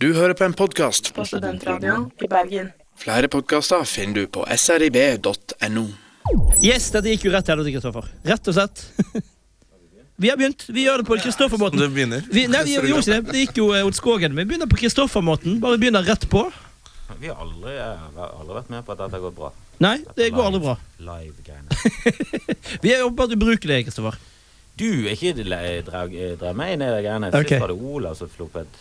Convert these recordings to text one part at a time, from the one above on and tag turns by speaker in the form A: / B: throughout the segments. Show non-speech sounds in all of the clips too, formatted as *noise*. A: Du hører på en podkast.
B: på Studentradioen i Bergen.
A: Flere podkaster finner du på srib.no.
C: Yes, dette gikk jo rett til helvete, Kristoffer. Rett og slett. Vi har begynt. Vi gjør det på Kristoffer-måten.
D: Det begynner.
C: Vi, nei, vi gjorde ikke det. Det gikk jo eh, mot skogen. Vi begynner på Kristoffer-måten. Bare begynner rett på.
E: Vi har aldri, eh, aldri vært med på at dette går bra.
C: Nei, det går aldri bra.
E: Live-greiene.
C: Vi er åpenbart ubrukelige, Kristoffer.
E: Du er ikke le- drag- eh, dra meg ned i greiene. Sist
C: Ok.
E: var det Olav som floppet.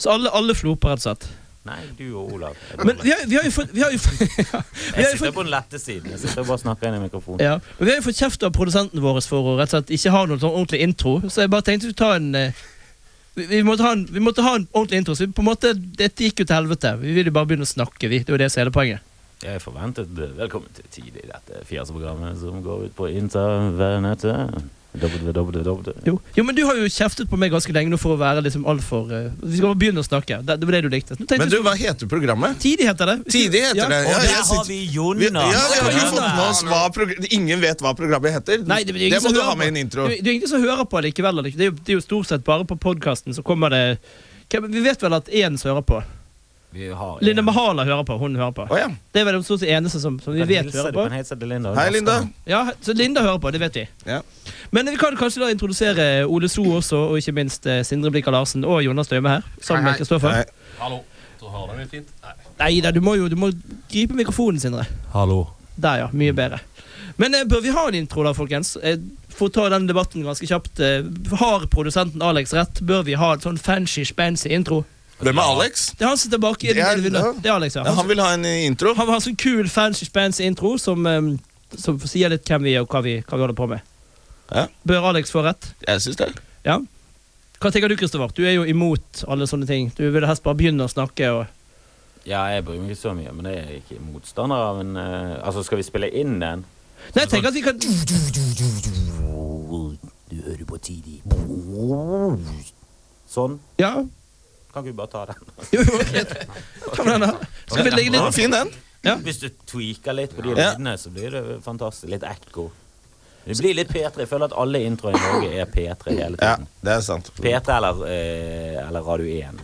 C: Så alle, alle floper, rett og slett.
E: Nei, du og Olav. Jeg,
C: Men vi har, vi har jo fått Vi har jo, fått- *laughs* vi har
E: jeg
C: jo
E: sitter
C: fått
E: på den lette siden. Jeg sitter bare og snakker inn i mikrofonen.
C: ja, men Vi har jo fått kjeft av produsenten vår for å rett og slett ikke ha noen sånn ordentlig intro. Så jeg bare tenkte vi ta en eh, vi, vi, måtte ha en, vi måtte ha en ordentlig intro. Så vi på en måte, Dette gikk jo til helvete. Vi ville jo bare begynne å snakke. vi Det var det som er hele poenget.
E: Jeg forventet eh, velkommen til tidlig i dette fjaseprogrammet som går ut på internettet. www.
C: Jo. jo, men du har jo kjeftet på meg ganske lenge nå for å være liksom altfor uh, Vi skal bare begynne å snakke. Det, det var det du likte. Nå tenkte
D: Men du,
C: jeg-
D: hva heter programmet?
C: Tidig heter det.
D: Tidig heter det.
E: Og
D: Ja,
E: der
D: jeg
E: har
D: sitter-
E: vi
D: Vi, ja,
E: Jonas!
D: vi har
C: Jonas.
D: ikke fått med oss hva progr- Ingen vet hva programmet heter.
C: Nei, det, det, er ingen
D: må
C: som
D: du
C: hører på.
D: ha med i en intro.
C: Det, det er ingen som hører på likevel. Det er, jo, det er jo stort sett bare på podkasten så kommer det Hvem- Vi vet vel at én som hører på.
E: Vi har en-
C: Linda Mahala hører på. Hun hører på.
D: Å ja.
C: Det er vel det stort sett eneste som, som vi
E: Kan
C: vet
E: hilse-
C: hører
E: Du
C: på.
E: kan hilse til Linda.
D: Hei, Linda.
C: Ja, Så Linda hører på, det vet vi.
D: Ja.
C: Men vi kan kanskje da introdusere Ole So også, og ikke minst eh, Sindre Blika Larsen og Jonas Døme her. Sammen med Kristoffer.
D: Hei.
F: Hallo. Så hører dere fint? Nei.
C: Nei da, du må jo du må gripe mikrofonen, Sindre.
F: Hallo.
C: Der, ja. Mye bedre. Men eh, bør vi ha en intro, da, folkens? Eh, for å ta den debatten ganske kjapt. Eh, har produsenten Alex rett? Bør vi ha en sånn fancy, spancy intro?
D: Hvem er Alex?
C: Det er han som er tilbake. i
D: Det er-
C: den lille
D: ja.
C: villa. Det er Alex, ja.
D: Ja,
C: Han,
D: han vil ha en eh, intro.
C: han har sånn kul, fancy, spancy intro som, eh, som sier litt hvem vi er, og hva vi, hva vi holder på med.
D: Ja.
C: Bør Alex få rett?
D: Jeg syns det.
C: Ja. Hva tenker du, Kristoffer? Du er jo imot alle sånne ting. Du vil helst bare begynne å snakke og
E: Ja, jeg bryr meg ikke så mye, men jeg er ikke motstander av en eh, Altså, skal vi spille inn den?
C: Nei, jeg tenker at vi kan
E: Du hører på tidlig. Sånn.
C: Ja.
E: Kan ikke vi bare ta den?
C: Jo, jo, greit. Hva med den her? Skal vi legge
D: Den var
C: litt
D: fin, den.
E: *laughs* Hvis du tweaker litt på de
D: Ja.
E: lydene, så blir det fantastisk. Litt ekko. Det blir litt P3. Jeg føler at alle introer i Norge er P3 hele
D: Ja,
E: tiden.
D: det er sant.
E: P3 eller, eh, eller Radio 1.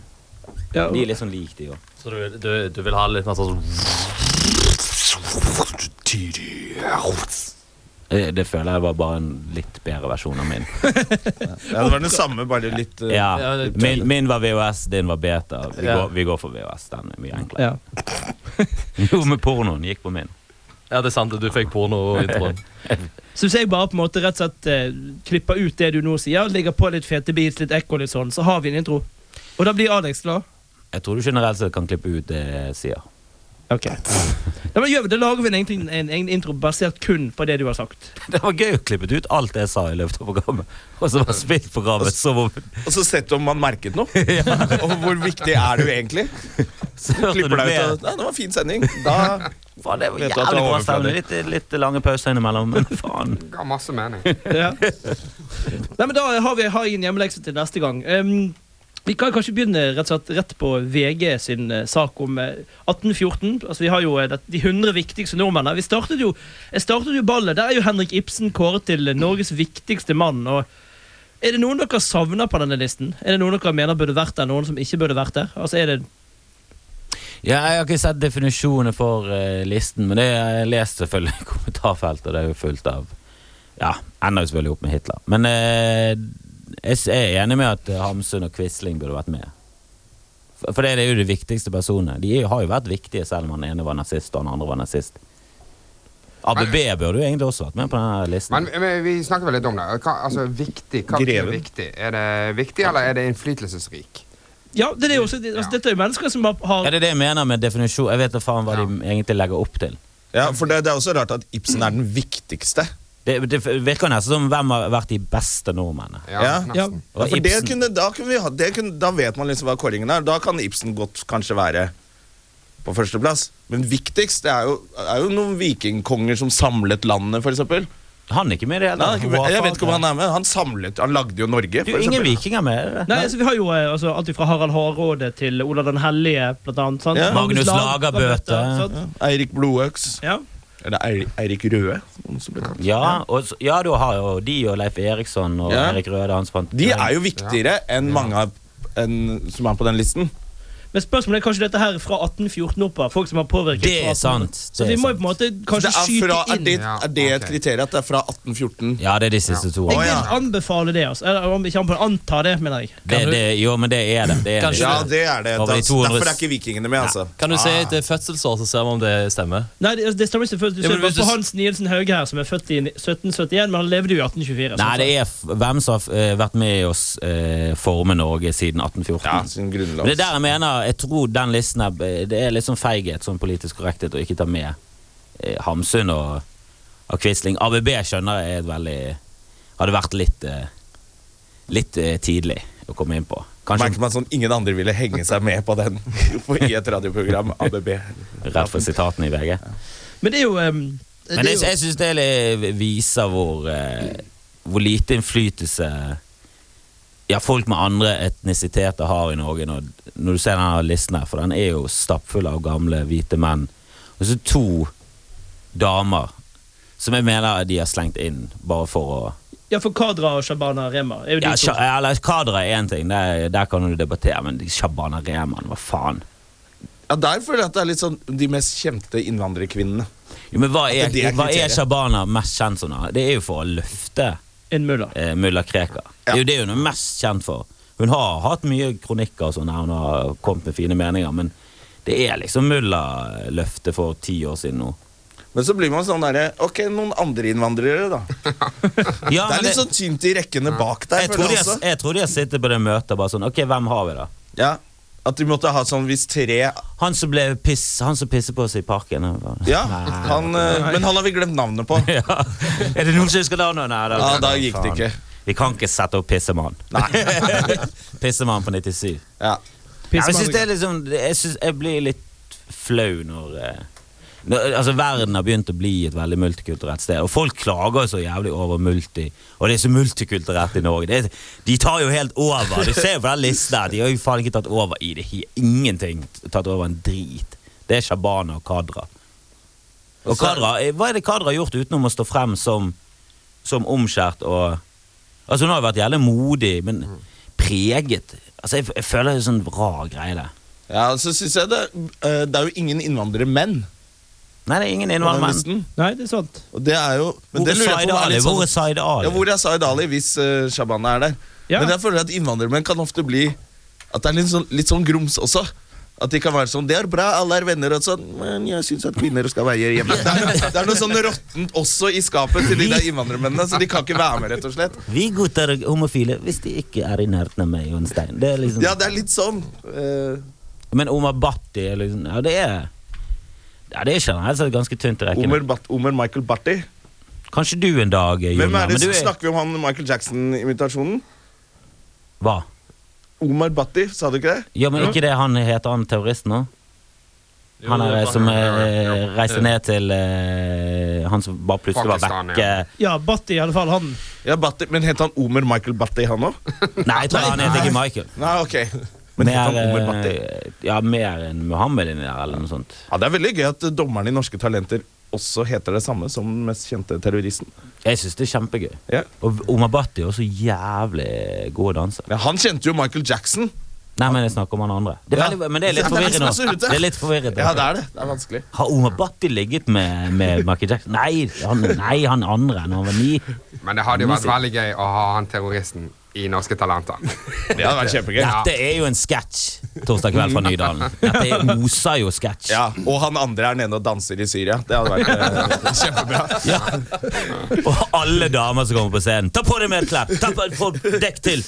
C: Ja.
E: De er litt sånn lik, de òg.
F: Så du, du, du vil ha litt mer sånn
E: Eh, Det det føler jeg var bare en litt bedre versjon av min.
D: Ja, det var den samme, bare litt eh,
E: Ja,
F: det-
E: min, min var VHS, din var beta. Vi,
F: Ja.
E: går, vi går for VHS. Den er mye enklere.
C: Ja.
E: Jo, med pornoen gikk på min.
F: Ja, det er sant. Du fikk porno-introen.
C: Så hvis jeg bare på en måte rett og slett eh, klipper ut det du nå sier, legger på litt fete beats, litt ekko, litt sånn, så har vi en intro. Og da blir Alex glad.
E: Jeg tror du generelt sett kan klippe ut det jeg sier.
C: Ok. Da, men gjør vi, da lager vi en, egentlig en egen intro basert kun på det du har sagt.
E: *laughs* Det var gøy å klippe ut alt jeg sa i løpet av programmet. Og så var spilt programmet som om
D: Og så sett om man merket noe. *laughs* Og hvor viktig er du egentlig?
E: Så hørte
D: Klipper
E: du
D: deg ut
E: mer.
D: av ja, Det var en fin stemning. Da
E: Faen, det var
D: Vet du at det
E: jævlig
D: var
E: bra
D: overflødig?
E: stemning. Litt, litt lange pauser innimellom, men faen.
G: Ga masse mening.
C: Ja. Nei, men da har, vi, har jeg en hjemmelekse til neste gang. Ehm, vi kan kanskje begynne rett, og slett, rett på VG sin eh, sak om eh, 1814. Altså, vi har jo eh, det, de 100 viktigste nordmennene. Vi startet jo, jeg startet jo ballet. Der er jo Henrik Ibsen kåret til eh, Norges viktigste mann. og er det noen dere savner på denne listen? Er det noen dere mener burde vært der, noen som ikke burde vært der? Altså, er det...
E: Ja, jeg har ikke sett definisjoner for eh, listen, men det har jeg lest selvfølgelig i *laughs* kommentarfeltet. Det er jo fullt av Ja, ender jo selvfølgelig opp med Hitler. Men eh, jeg s- jeg er enig med at eh, Hamsun og Quisling burde vært med. For, for det er jo de viktigste personene. De er, jo- har jo vært viktige, selv om han ene var nazist og han andre var nazist. ABB burde jo egentlig også vært med på denne listen.
G: Men, men vi snakket vel litt om det. Hva, altså, viktig, hva betyr
D: Greven.
G: viktig? Er det viktig, eller er det innflytelsesrik?
C: Ja, det er det jo også, altså,
G: Ja.
C: Dette er jo mennesker som har, har
E: er det det jeg mener med definisjon? Jeg vet da faen hva de egentlig legger opp til.
D: Ja, for det, det er også rart at Ibsen er den viktigste.
E: Det, det virker nesten som hvem har vært de beste nordmennene.
D: Ja.
G: nesten.
D: Ja, for det
E: Ibsen.
D: kunne, da, kunne vi ha, det kunne, da vet man liksom hva kåringen er. Da kan Ibsen godt kanskje være på førsteplass. Men viktigst det er jo, er jo noen vikingkonger som samlet landet, f.eks.
E: Han er ikke med i det hele
D: Nei,
E: tatt.
D: jeg vet ikke om han er med. Han samlet, han lagde jo Norge.
E: Du,
D: for
E: ingen
D: eksempel.
E: vikinger med? er det det?
C: Nei, altså, vi har jo eh, altså, alt fra Harald Hardråde til Olav den hellige, blant annet. Sant?
D: Ja.
E: Magnus
C: Lag-
E: Lagerbøte.
C: sant?
D: Ja, Eirik Blodøks.
C: Ja.
D: Eller Eir- Eirik Røe. som han også ble kalt.
E: Ja, og, så- ja, du har jo de og Leif Eriksson og
D: Ja.
E: Erik Røde. Hans fant.
D: De er jo viktigere enn mange av enn, som er på den listen.
C: Men Men spørsmålet er kanskje dette her er fra 1814 oppover. Folk som har påvirket
E: Det
C: fra
E: er
C: 1800.
E: sant.
C: Så
E: det
C: vi
E: er
C: må jo på
E: sant.
C: en måte kanskje
D: det er,
C: skyte
D: fra, er,
C: inn
D: det,
G: Ja,
D: er det et
G: ok.
D: kriterium at det er fra 1814?
E: Ja, det er de siste to.
C: Jeg
D: Å,
E: årene.
C: vil
D: ja.
C: anbefale det, altså. Eller om ikke anbefale, anta det, mener jeg.
E: Det, det, jo, men det er det. det, er det.
F: Kanskje
D: Ja, det er det.
E: Over de
D: Da,
E: 200
D: derfor er ikke vikingene med, altså.
F: *laughs* Kan du si et eh, fødselsår, så ser vi om det stemmer?
C: Nei, det, altså, det stemmer ikke. for Du
F: Ja,
C: ser
F: men
C: bare
F: hvis
C: på
F: du-
C: Hans Nielsen Hauge her, som er født i 1771, men han levde jo i altså. 1824.
E: Nei,
C: sant?
E: det er f- hvem som har f- eh, vært med oss eh, forme Norge siden 1814.
D: Ja, *laughs* sin grunnlov.
E: Men det er der jeg mener, jeg tror den listen er, det er litt sånn feighet, sånn politisk korrekthet, å ikke ta med eh, Hamsun og, og Quisling. ABB skjønner jeg er et veldig Hadde vært litt eh, Litt eh, tidlig å komme inn på.
D: Merker
E: Kanskje
D: man sånn ingen andre ville henge seg med på den *laughs* i et radioprogram. ABB.
E: rett for sitatene i VG.
C: Men det er jo ehm, det
E: Men
C: er
E: jeg,
C: jo-
E: jeg syns det li- viser hvor, eh, hvor lite innflytelse ja, folk med andre etnisiteter har i Norge, når, når du ser denne listen her, for den er jo stappfull av gamle, hvite menn. Og så to damer som jeg mener de har slengt inn bare for å
C: Ja, for Kadra og Shabana Rema er jo de
E: ja,
C: to.
E: Sha- Eller Kadra er én ting, der, der kan du debattere, men Shabana Rehman, hva faen?
D: Ja, Der føler jeg at det er litt sånn de mest kjente innvandrerkvinnene.
E: Jo, men hva
D: At
E: er,
D: det er
E: hva er
D: kriteriet.
E: Shabana mest kjent som? da? Det er jo for å løfte
C: En mulla.
E: eh, mulla Krekar. Det er jo det hun er mest kjent for. Hun har hatt mye kronikker og sånn, her, hun har kommet med fine meninger, men det er liksom mulla-løftet for ti år siden nå.
D: Men så blir man sånn derre Ok, noen andre innvandrere, da.
E: Ja,
D: Det er
E: men
D: litt sånn tynt i rekkene bak der.
E: jeg, tror
D: føler
E: de
D: jeg
E: har,
D: også.
E: jeg tror de har sittet på det møtet og bare sånn Ok, hvem har vi, da?
D: Ja, At de måtte ha sånn hvis tre
E: Han som, ble piss, han som pisser på oss i parken. han bare-
D: Ja,
E: Nei.
D: han, eh, Men han har vi glemt navnet på.
E: *laughs* ja. Er det noen som husker navnet? Nei, det-
D: Ja, da gikk det
E: faen.
D: ikke.
E: Vi kan ikke sette opp Pissemann. *laughs* pissemann på 97.
D: Ja.
E: Ja, men jeg synes det er liksom jeg, synes jeg blir litt flau når, eh, når Altså Verden har begynt å bli et veldig multikulturelt sted. Og folk klager så jævlig over multi. Og det er så multikulturelt i Norge. Det er, de tar jo helt over. Du ser jo på den listen her. De har jo faen ikke tatt over i det hele. Ingenting. Tatt over en drit. Det er Shabana og Kadra. Og Kadra, eh, Hva er det Kadra har gjort utenom å stå frem som, som omskjært og Altså Hun har jo vært jævlig modig, men preget. Altså Jeg, jeg føler det er sånn rar greie. det
D: ja, og så synes jeg det, eh, det er jo ingen innvandrermenn.
E: Nei, det er ingen
D: på den
E: innvandrermenn.
D: listen.
C: Nei, det er sant.
D: Og det er jo men
E: Hvor
D: det
E: er
D: lurer jeg
E: Zaid
D: på, hva er
E: Ali?
D: litt
E: Hvor er
D: sånn,
E: Zaid
D: ja,
E: Ali?
D: hvor er Zaid Ali hvis eh, Shabana er der?
C: Ja.
D: Men jeg føler at innvandrermenn kan ofte bli At det er litt sånn, litt sånn grums også. At de kan være sånn 'Det er bra, alle er venner', og sånn 'Men jeg syns at kvinner skal være hjemme'. Det er, det er noe sånn råttent også i skapet til de der innvandrermennene, så de kan ikke være med, rett og slett.
E: Vi godtar homofile hvis de ikke er i nærheten av meg og en stein. Det er liksom
D: Ja, det er litt sånn. eh,
E: Men Omar Bhatti er liksom Ja, det er ja, det er generelt sett ganske tynt i rekken.
D: Omer, Bat Omer Michael Barty.
E: Kanskje du en dag, eh,
D: Hvem
E: Jonna.
D: er det
E: Men du
D: som
E: er
D: snakker vi om han Michael Jackson-invitasjonen?
E: Hva?
D: Omar Bhatti, sa du ikke det?
E: Ja, men ikke det han heter han terroristen nå? Han er, eh, som eh, reiste ned til eh, Han som bare plutselig var
G: Pakistan,
E: vekke.
C: Ja, Batti i alle fall, han.
D: Ja, Bhatti, Men het han Omer Michael Bhatti, han òg?
E: Nei, jeg tror han heter ikke Michael.
D: Nei, ok. Men het han Omer
E: mer,
D: Bhatti?
E: eh, ja, mer enn Mohammed inni der, eller noe sånt.
D: Ja, Det er veldig gøy at eh, dommeren i Norske Talenter også heter det samme som den mest kjente terroristen.
E: Jeg syns det er kjempegøy.
D: Ja.
E: Og Omar Bhatti er også jævlig god å danse.
D: Ja, han kjente jo Michael Jackson.
E: Nei, men jeg snakker om han andre. Det er
D: Ja.
E: veldig, men det er litt
D: Ja, *laughs* det er
E: forvirrende.
D: det som er så ute.
E: Det er litt forvirrende.
D: Ja, det er det. Det er vanskelig.
E: Har Omar Bhatti ligget med, med Michael Jackson? Nei, han, nei, han andre når han var ni.
G: Men det hadde jo vært veldig gøy å ha han terroristen i Norske Talenter.
D: *laughs* Det hadde vært kjempegøy. Ja.
G: Ja.
E: Dette er jo en sketsj torsdag kveld fra Nydalen. Dette er- oser jo sketsj.
D: Og han andre er nede og danser i Syria. Det hadde *laughs* vært eh, kjempebra.
E: Ja. Og alle damer som kommer på scenen. Ta på deg mer klær! Ta på, få dekk til!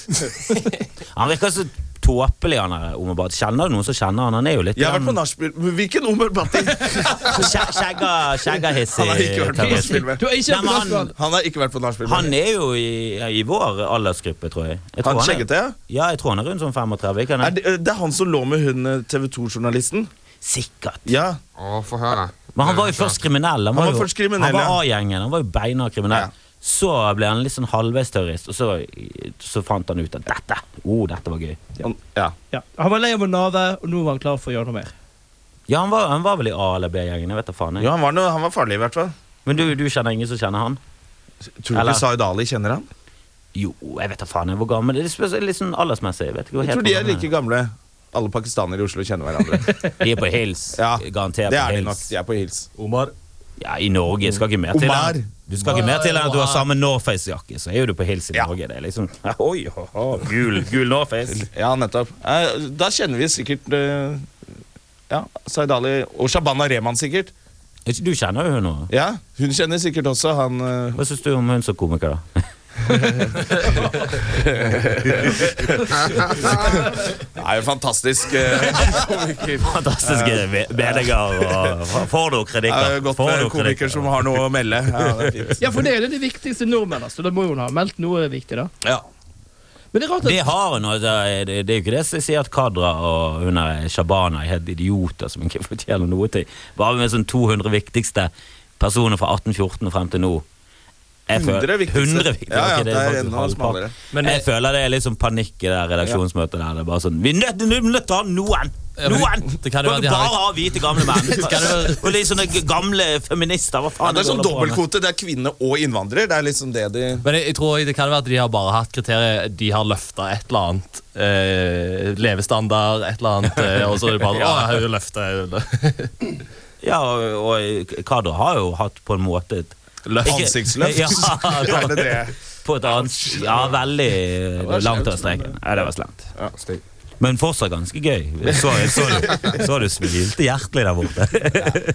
E: Han virker så tåpelig, han der Omar Bhatti. Kjenner du noen som kjenner han? Han er jo litt
D: Jeg har vært på nachspiel. Men Hvilken Omer Bhatti? *laughs*
E: Skje- Skjegga, skjegga hissig.
D: Han har ikke vært på
E: terrorist.
D: nachspiel med.
C: Du er ikke
E: Nei, men han-
C: han...
D: Han har ikke vært på nachspiel. med.
E: Han er jo i, i vår aldersgruppe, tror jeg. jeg tror
D: Han
E: er-
D: skjeggete, ja?
E: Ja, jeg tror han er rundt sånn 35. Ikke? han
D: Er
E: Er
D: det, eh, det er han som lå med hun eh, TV 2-journalisten?
E: Sikkert.
D: Ja.
G: Å, få høre.
E: Men han var jo først kriminell. Han var,
D: var
E: jo-
D: først kriminell,
E: han var
D: ja.
E: A-gjengen. Han var jo beinhard kriminell.
D: Ja.
E: Så ble han litt sånn halvveis terrorist, og så, så fant han ut at dette oh, dette var gøy.
D: Han, ja.
C: Ja. han var lei av å nave, og nå var han klar for å gjøre noe mer.
E: Ja, han var, han var vel i A- eller B-gjengen. jeg vet da faen jeg.
D: Jo, han, var noe, han var farlig, i hvert fall.
E: Men du, du kjenner ingen som kjenner han?
D: Tror du
E: Eller-
D: ikke Zaid Ali kjenner han?
E: Jo, jeg vet da faen jeg hvor gammel. Det er litt sånn aldersmessig. Jeg vet ikke hvor
D: Jeg tror
E: helt
D: de er
E: gammel han
D: like gamle. alle pakistanere i Oslo kjenner *laughs* hverandre.
E: De er på hils.
D: Ja,
E: Garantert
D: Det
E: på
D: er de nok.
E: hils.
D: De er på hils.
F: Omar.
E: Ja, I Norge skal ikke mer til
D: Omar.
E: enn Du skal ikke mer til enn at du har samme Norface-jakke, så er jo du på hils i
D: Ja.
E: Norge. Det er liksom *laughs* Oi, ho, ho, gul, gul Norface.
D: Ja, nettopp. Eh, Da kjenner vi sikkert eh, Ja, Zaid Ali og Shabana Rehman sikkert.
E: Er ikke- Du kjenner jo henne nå.
D: Ja, Hun kjenner sikkert også han eh,
E: Hva syns du om hun som
D: *laughs*
E: komiker, da?
D: Det er jo fantastisk. eh,
E: Fantastiske ve- vedlegger og Får du
D: Det er
E: kreditter?
D: jo godt
E: Får
D: med
E: du
D: komiker
E: kreditter?
D: som har noe å melde. Ja, det er fint.
C: *laughs* Ja, for det er jo det viktigste nordmenn, altså. Da må jo hun ha meldt noe viktig, da.
D: Ja.
C: Men det er rart at
E: Det har hun, og det er det er jo ikke det som sier at Kadra og hun er Shabana er helt idioter som ikke *laughs* fortjener noe til. Bare med sånn 200 viktigste personer fra 1814 og frem til nå. Jeg føler-
D: 100 viktigste.
E: 100 viktigste.
D: Ja, ja,
E: ok,
D: det er
E: faktisk
D: enda
E: halvparten.
D: smalere.
E: Men jeg, føler det er litt sånn panikk i det redaksjonsmøtet der. Det er bare sånn Vi er nødt vi er nødt til å ha noen!
F: Ja, men
E: Noen!
F: det kan jo være de
E: bare
F: har-
E: ha hvite, gamle
F: *laughs*
E: menn.
F: kan jo-
E: og litt sånne g- gamle feminister. Hva
D: Ja,
E: faen?
D: det er sånn
E: du holder på med?
D: dobbeltkvote. Det er kvinne og innvandrer. Det er liksom det de
F: Men jeg, jeg tror også det kan være at de har bare hatt kriterier. De har løfta et eller annet. Eh, levestandard, et eller annet. Eh, og så er det *laughs* bare Å, jeg løfter
E: Ja, og, og Kadra har jo hatt på en måte et Ikke-
D: Ansiktsløft. *laughs*
E: Ja,
D: Er det det?
E: På et annet Ja, veldig langt over streken. Nei, det var slemt.
G: Ja, stygg.
E: Men fortsatt ganske gøy. Jeg Så, jeg så, jeg så du smilte hjertelig der borte.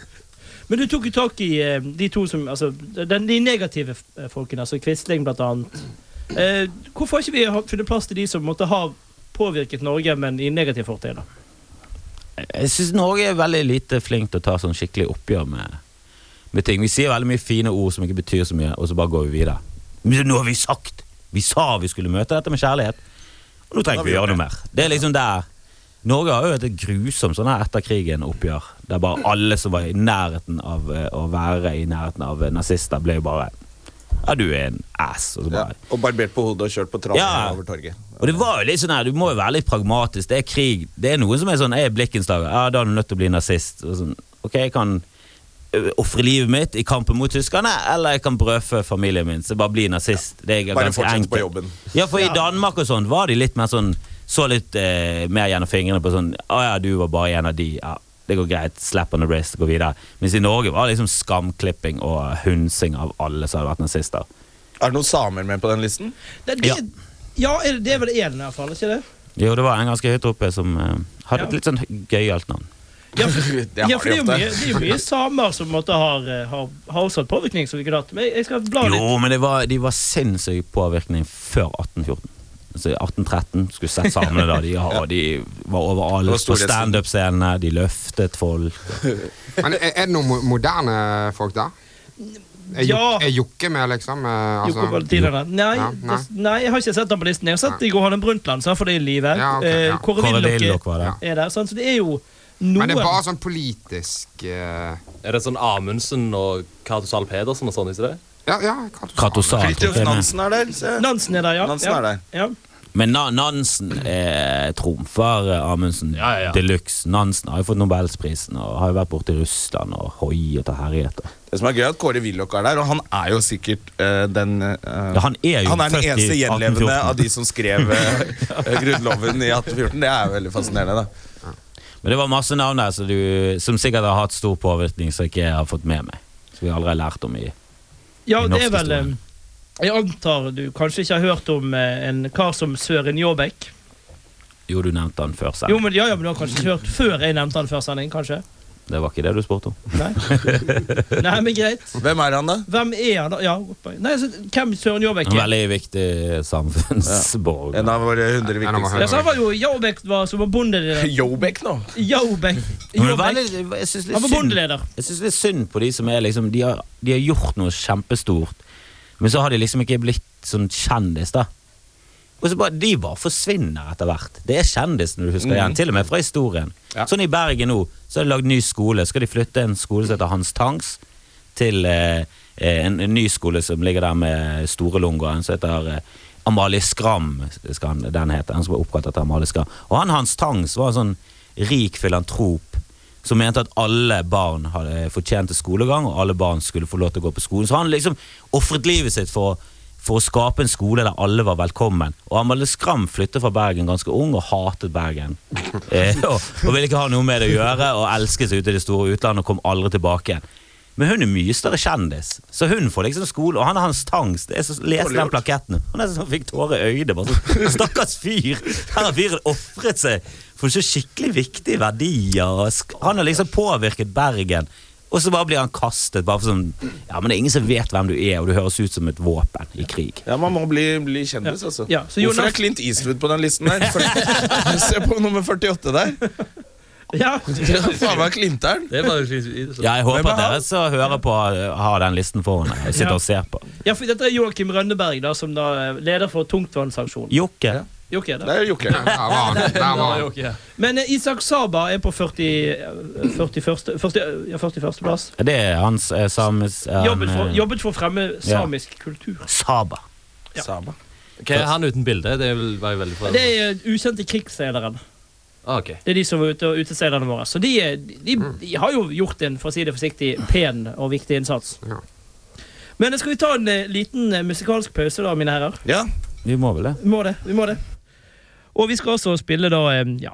C: Men du tok jo tak i eh, de to som Altså, den, de negative eh, folkene, altså Quisling blant annet. Eh, hvorfor har ikke vi ha- funnet plass til de som måtte ha påvirket Norge, men i negativ fortegn? da?
E: Jeg syns Norge er veldig lite flink til å ta sånn skikkelig oppgjør med, med ting. Vi sier veldig mye fine ord som ikke betyr så mye, og så bare går vi videre. Men nå har vi sagt! Vi sa vi skulle møte dette med kjærlighet, og nå trenger vi å gjøre noe mer. Det er liksom der Norge har jo et grusomt sånn her etter krigen-oppgjør, der bare alle som var i nærheten av eh, å være i nærheten av eh, nazister, ble jo bare Ja, du er en ass. Og så
D: Ja.
E: bare
D: Og barbert på hodet og kjørt på tralla
E: Ja.
D: over torget.
E: og det var jo litt sånn her, Du må jo være litt pragmatisk. Det er krig. Det er noen som er sånn Er jeg blikkens dager? Ja, da er du nødt til å bli nazist. Og sånn, ok, jeg kan ø, ofre livet mitt i kampen mot tyskerne, eller jeg kan brødfø familien min. Så bare bli nazist. Det er
D: Bare
E: ganske
D: fortsett på
E: enkelt.
D: jobben.
E: Ja, for i Danmark og sånn var de litt mer sånn Så litt eh, mer gjennom fingrene på sånn Å ja, du var bare en av de. Ja, det går greit. Slap on the wrist, gå videre. Mens i Norge var det liksom skamklipping og hunsing av alle som hadde vært nazister.
D: Er det noen samer med på den listen?
C: Det, det,
E: Ja.
C: ja, er det, det er vel én, i hvert fall. Ikke det?
E: Jo, det var en ganske høyt oppe som eh, hadde
C: Ja.
E: et litt sånn gøyalt navn.
D: *laughs*
C: Ja, for,
D: Det
C: ja,
D: har
C: for det, er
D: de
C: jo mye,
D: ofte.
C: det er jo mye samer som måtte har, eh, har, har også hatt påvirkning. som vi kunne hatt. Men jeg skal bla litt.
E: Jo, men det var, de var sinnssyk påvirkning før 1814. Altså i 1813 skulle sett samene da. De, ja, de var
D: Det var
E: overalt på
D: storhetstiden.
E: standup-scenene, de løftet folk.
G: *laughs* Men er, er det noen mo- moderne folk der? Er, ja.
C: Ja.
G: er Jokke med, liksom? eh, Altså,
C: Joko Valentinerne. Nei,
G: Ja, nei.
C: det- nei, jeg har ikke sett den på listen. Jeg har sett Gro Harlem Brundtland, så han får det i live.
G: Ja, ok,
C: Eh,
G: ja.
C: Kåre
E: Kåre Willoch
C: Willoch
E: var det.
G: Ja.
C: er der. Sant? Så det er jo noen
G: men det er bare sånn politisk eh,
F: *laughs* Er det sånn Amundsen og Cato Zahl Pedersen og sånn? ikke det?
G: Ja, ja, hva du sa.
E: Cato Zahl. tror
D: Fridtjof
E: jeg det er.
D: Nansen er der. Se.
C: Nansen er der, ja.
D: Nansen
C: ja.
D: er der.
C: Ja.
E: Men Na Nansen eh, trumfer eh, Amundsen
F: Ja, ja, ja.
E: de luxe. Nansen har jo fått Nobelsprisen og har jo vært borte i Russland og hoiet og herjet. og-
D: Det som er gøy, er at Kåre Willoch er der, og han er jo sikkert eh, den eh,
E: Ja, han er jo
D: han er den
E: født i
D: eneste gjenlevende
E: 1814.
D: av de som skrev eh, Grunnloven i 1814. Det er jo veldig fascinerende, da.
E: Men det var masse navn der som du, som sikkert har hatt stor påvirkning, som jeg ikke har fått med meg. Som vi aldri har lært om i
C: ja,
E: I
C: det er
E: norsk
C: vel
E: historie.
C: eh, Jeg antar du kanskje ikke har hørt om eh, en kar som Søren Jåbekk?
E: Jo, du nevnte han før selv.
C: Jo, men, ja, ja, men du har kanskje ikke hørt før jeg nevnte han før sending, kanskje?
E: Det var ikke det du spurte om. *laughs*
C: Nei, Nei men greit.
D: Hvem er han, da?
C: Hvem er han, da? Ja, godt poeng. Nei, så, hvem Søren Jåbekk
E: En
C: er?
E: veldig viktig samfunnsborger.
D: En av våre 100
G: Ja, nå
C: Ja,
G: må jeg
D: viktigste.
G: høre.
C: så han var jo Jåbekk var som var bondeleder.
E: *laughs*
D: Yobek nå.
C: Jåbekk.
E: Men det er
C: Jåbekk.
E: veldig, jeg syns
C: Han var
E: litt synd
C: bondeleder.
E: Jeg synes det er synd på de som er liksom de har, de har gjort noe kjempestort, men så har de liksom ikke blitt sånn kjendis, da. Og så bare, De bare forsvinner etter hvert. Det er kjendisen du husker igjen, til og med fra historien. Sånn i Bergen nå, så har de lagd ny skole. Skal de flytte en skole som heter Hans Tangs, til eh, en, en ny skole som ligger der med store lungoen, som heter eh, Amalie Skram, skal han, den heter, han som var oppkalt etter Amalie Skram. Og han Hans Tangs var en sånn rik filantrop som mente at alle barn eh, hadde fortjente skolegang, og alle barn skulle få lov til å gå på skolen. Så han liksom ofret livet sitt for å for å skape en skole der alle var velkommen. Og Amalie Skram flyttet fra Bergen ganske ung og hatet Bergen. Eh, og, og ville ikke ha noe med det å gjøre, og elsket seg ut i det store utlandet og kom aldri tilbake. igjen. Men hun er mye større kjendis, så hun får liksom skole. Og han er hans tangst. Jeg så- leste den plaketten. Han er sånn, fikk tårer i øynene. Bare sånn, *laughs* Stakkars fyr! Her har fyren ofret seg for så skikkelig viktige verdier. og sk- Han har liksom påvirket Bergen. Og så bare blir han kastet. Bare for sånn, ja, men det er ingen som vet hvem du er, og du høres ut som et våpen i krig.
D: Ja, Man må bli, bli kjendis, altså.
C: Ja, så Jonas-
D: Hvorfor er Clint Eastwood på den listen der?
E: *laughs*
D: For- Se på nummer 48 der.
C: Ja.
E: *laughs*
D: Faen meg Clinter'n.
F: Det sånn. var jo slik-
E: Ja, jeg håper
D: Hvem er
E: at dere
D: han?
E: som hører på, har den listen foran dere. og
C: Ja.
E: Sitter og ser på.
C: ja, for dette er Joakim Rønneberg, da, som da er leder for Tungtvannsaksjonen.
E: Jokke.
C: Jokke er det.
D: Der er Jokke.
G: Der var han. Der var han.
F: Ok.
C: Men eh, Isak Saba er på 40, 41, 40, ja, 41. plass.
E: Det er hans eh, sames... eh,
C: Jobbet for,
E: eh,
C: jobbet for å fremme samisk kultur.
E: Saba.
C: Ja.
D: Sama.
F: Hva er han uten bilde? Det vil- var jo veldig bra.
C: Det er eh, ukjente krigsseileren.
F: Ah, ok.
C: Det er de som var ute og uteseilerne våre. Så de, er- de, de har jo gjort en, for å si det forsiktig, pen og viktig innsats.
G: Ja.
C: Men eh, skal vi ta en eh, liten eh, musikalsk pause, da, mine herrer?
D: Ja,
E: Vi må vel det.
C: Vi må det. Vi må det. Og vi skal også spille da eh, ja,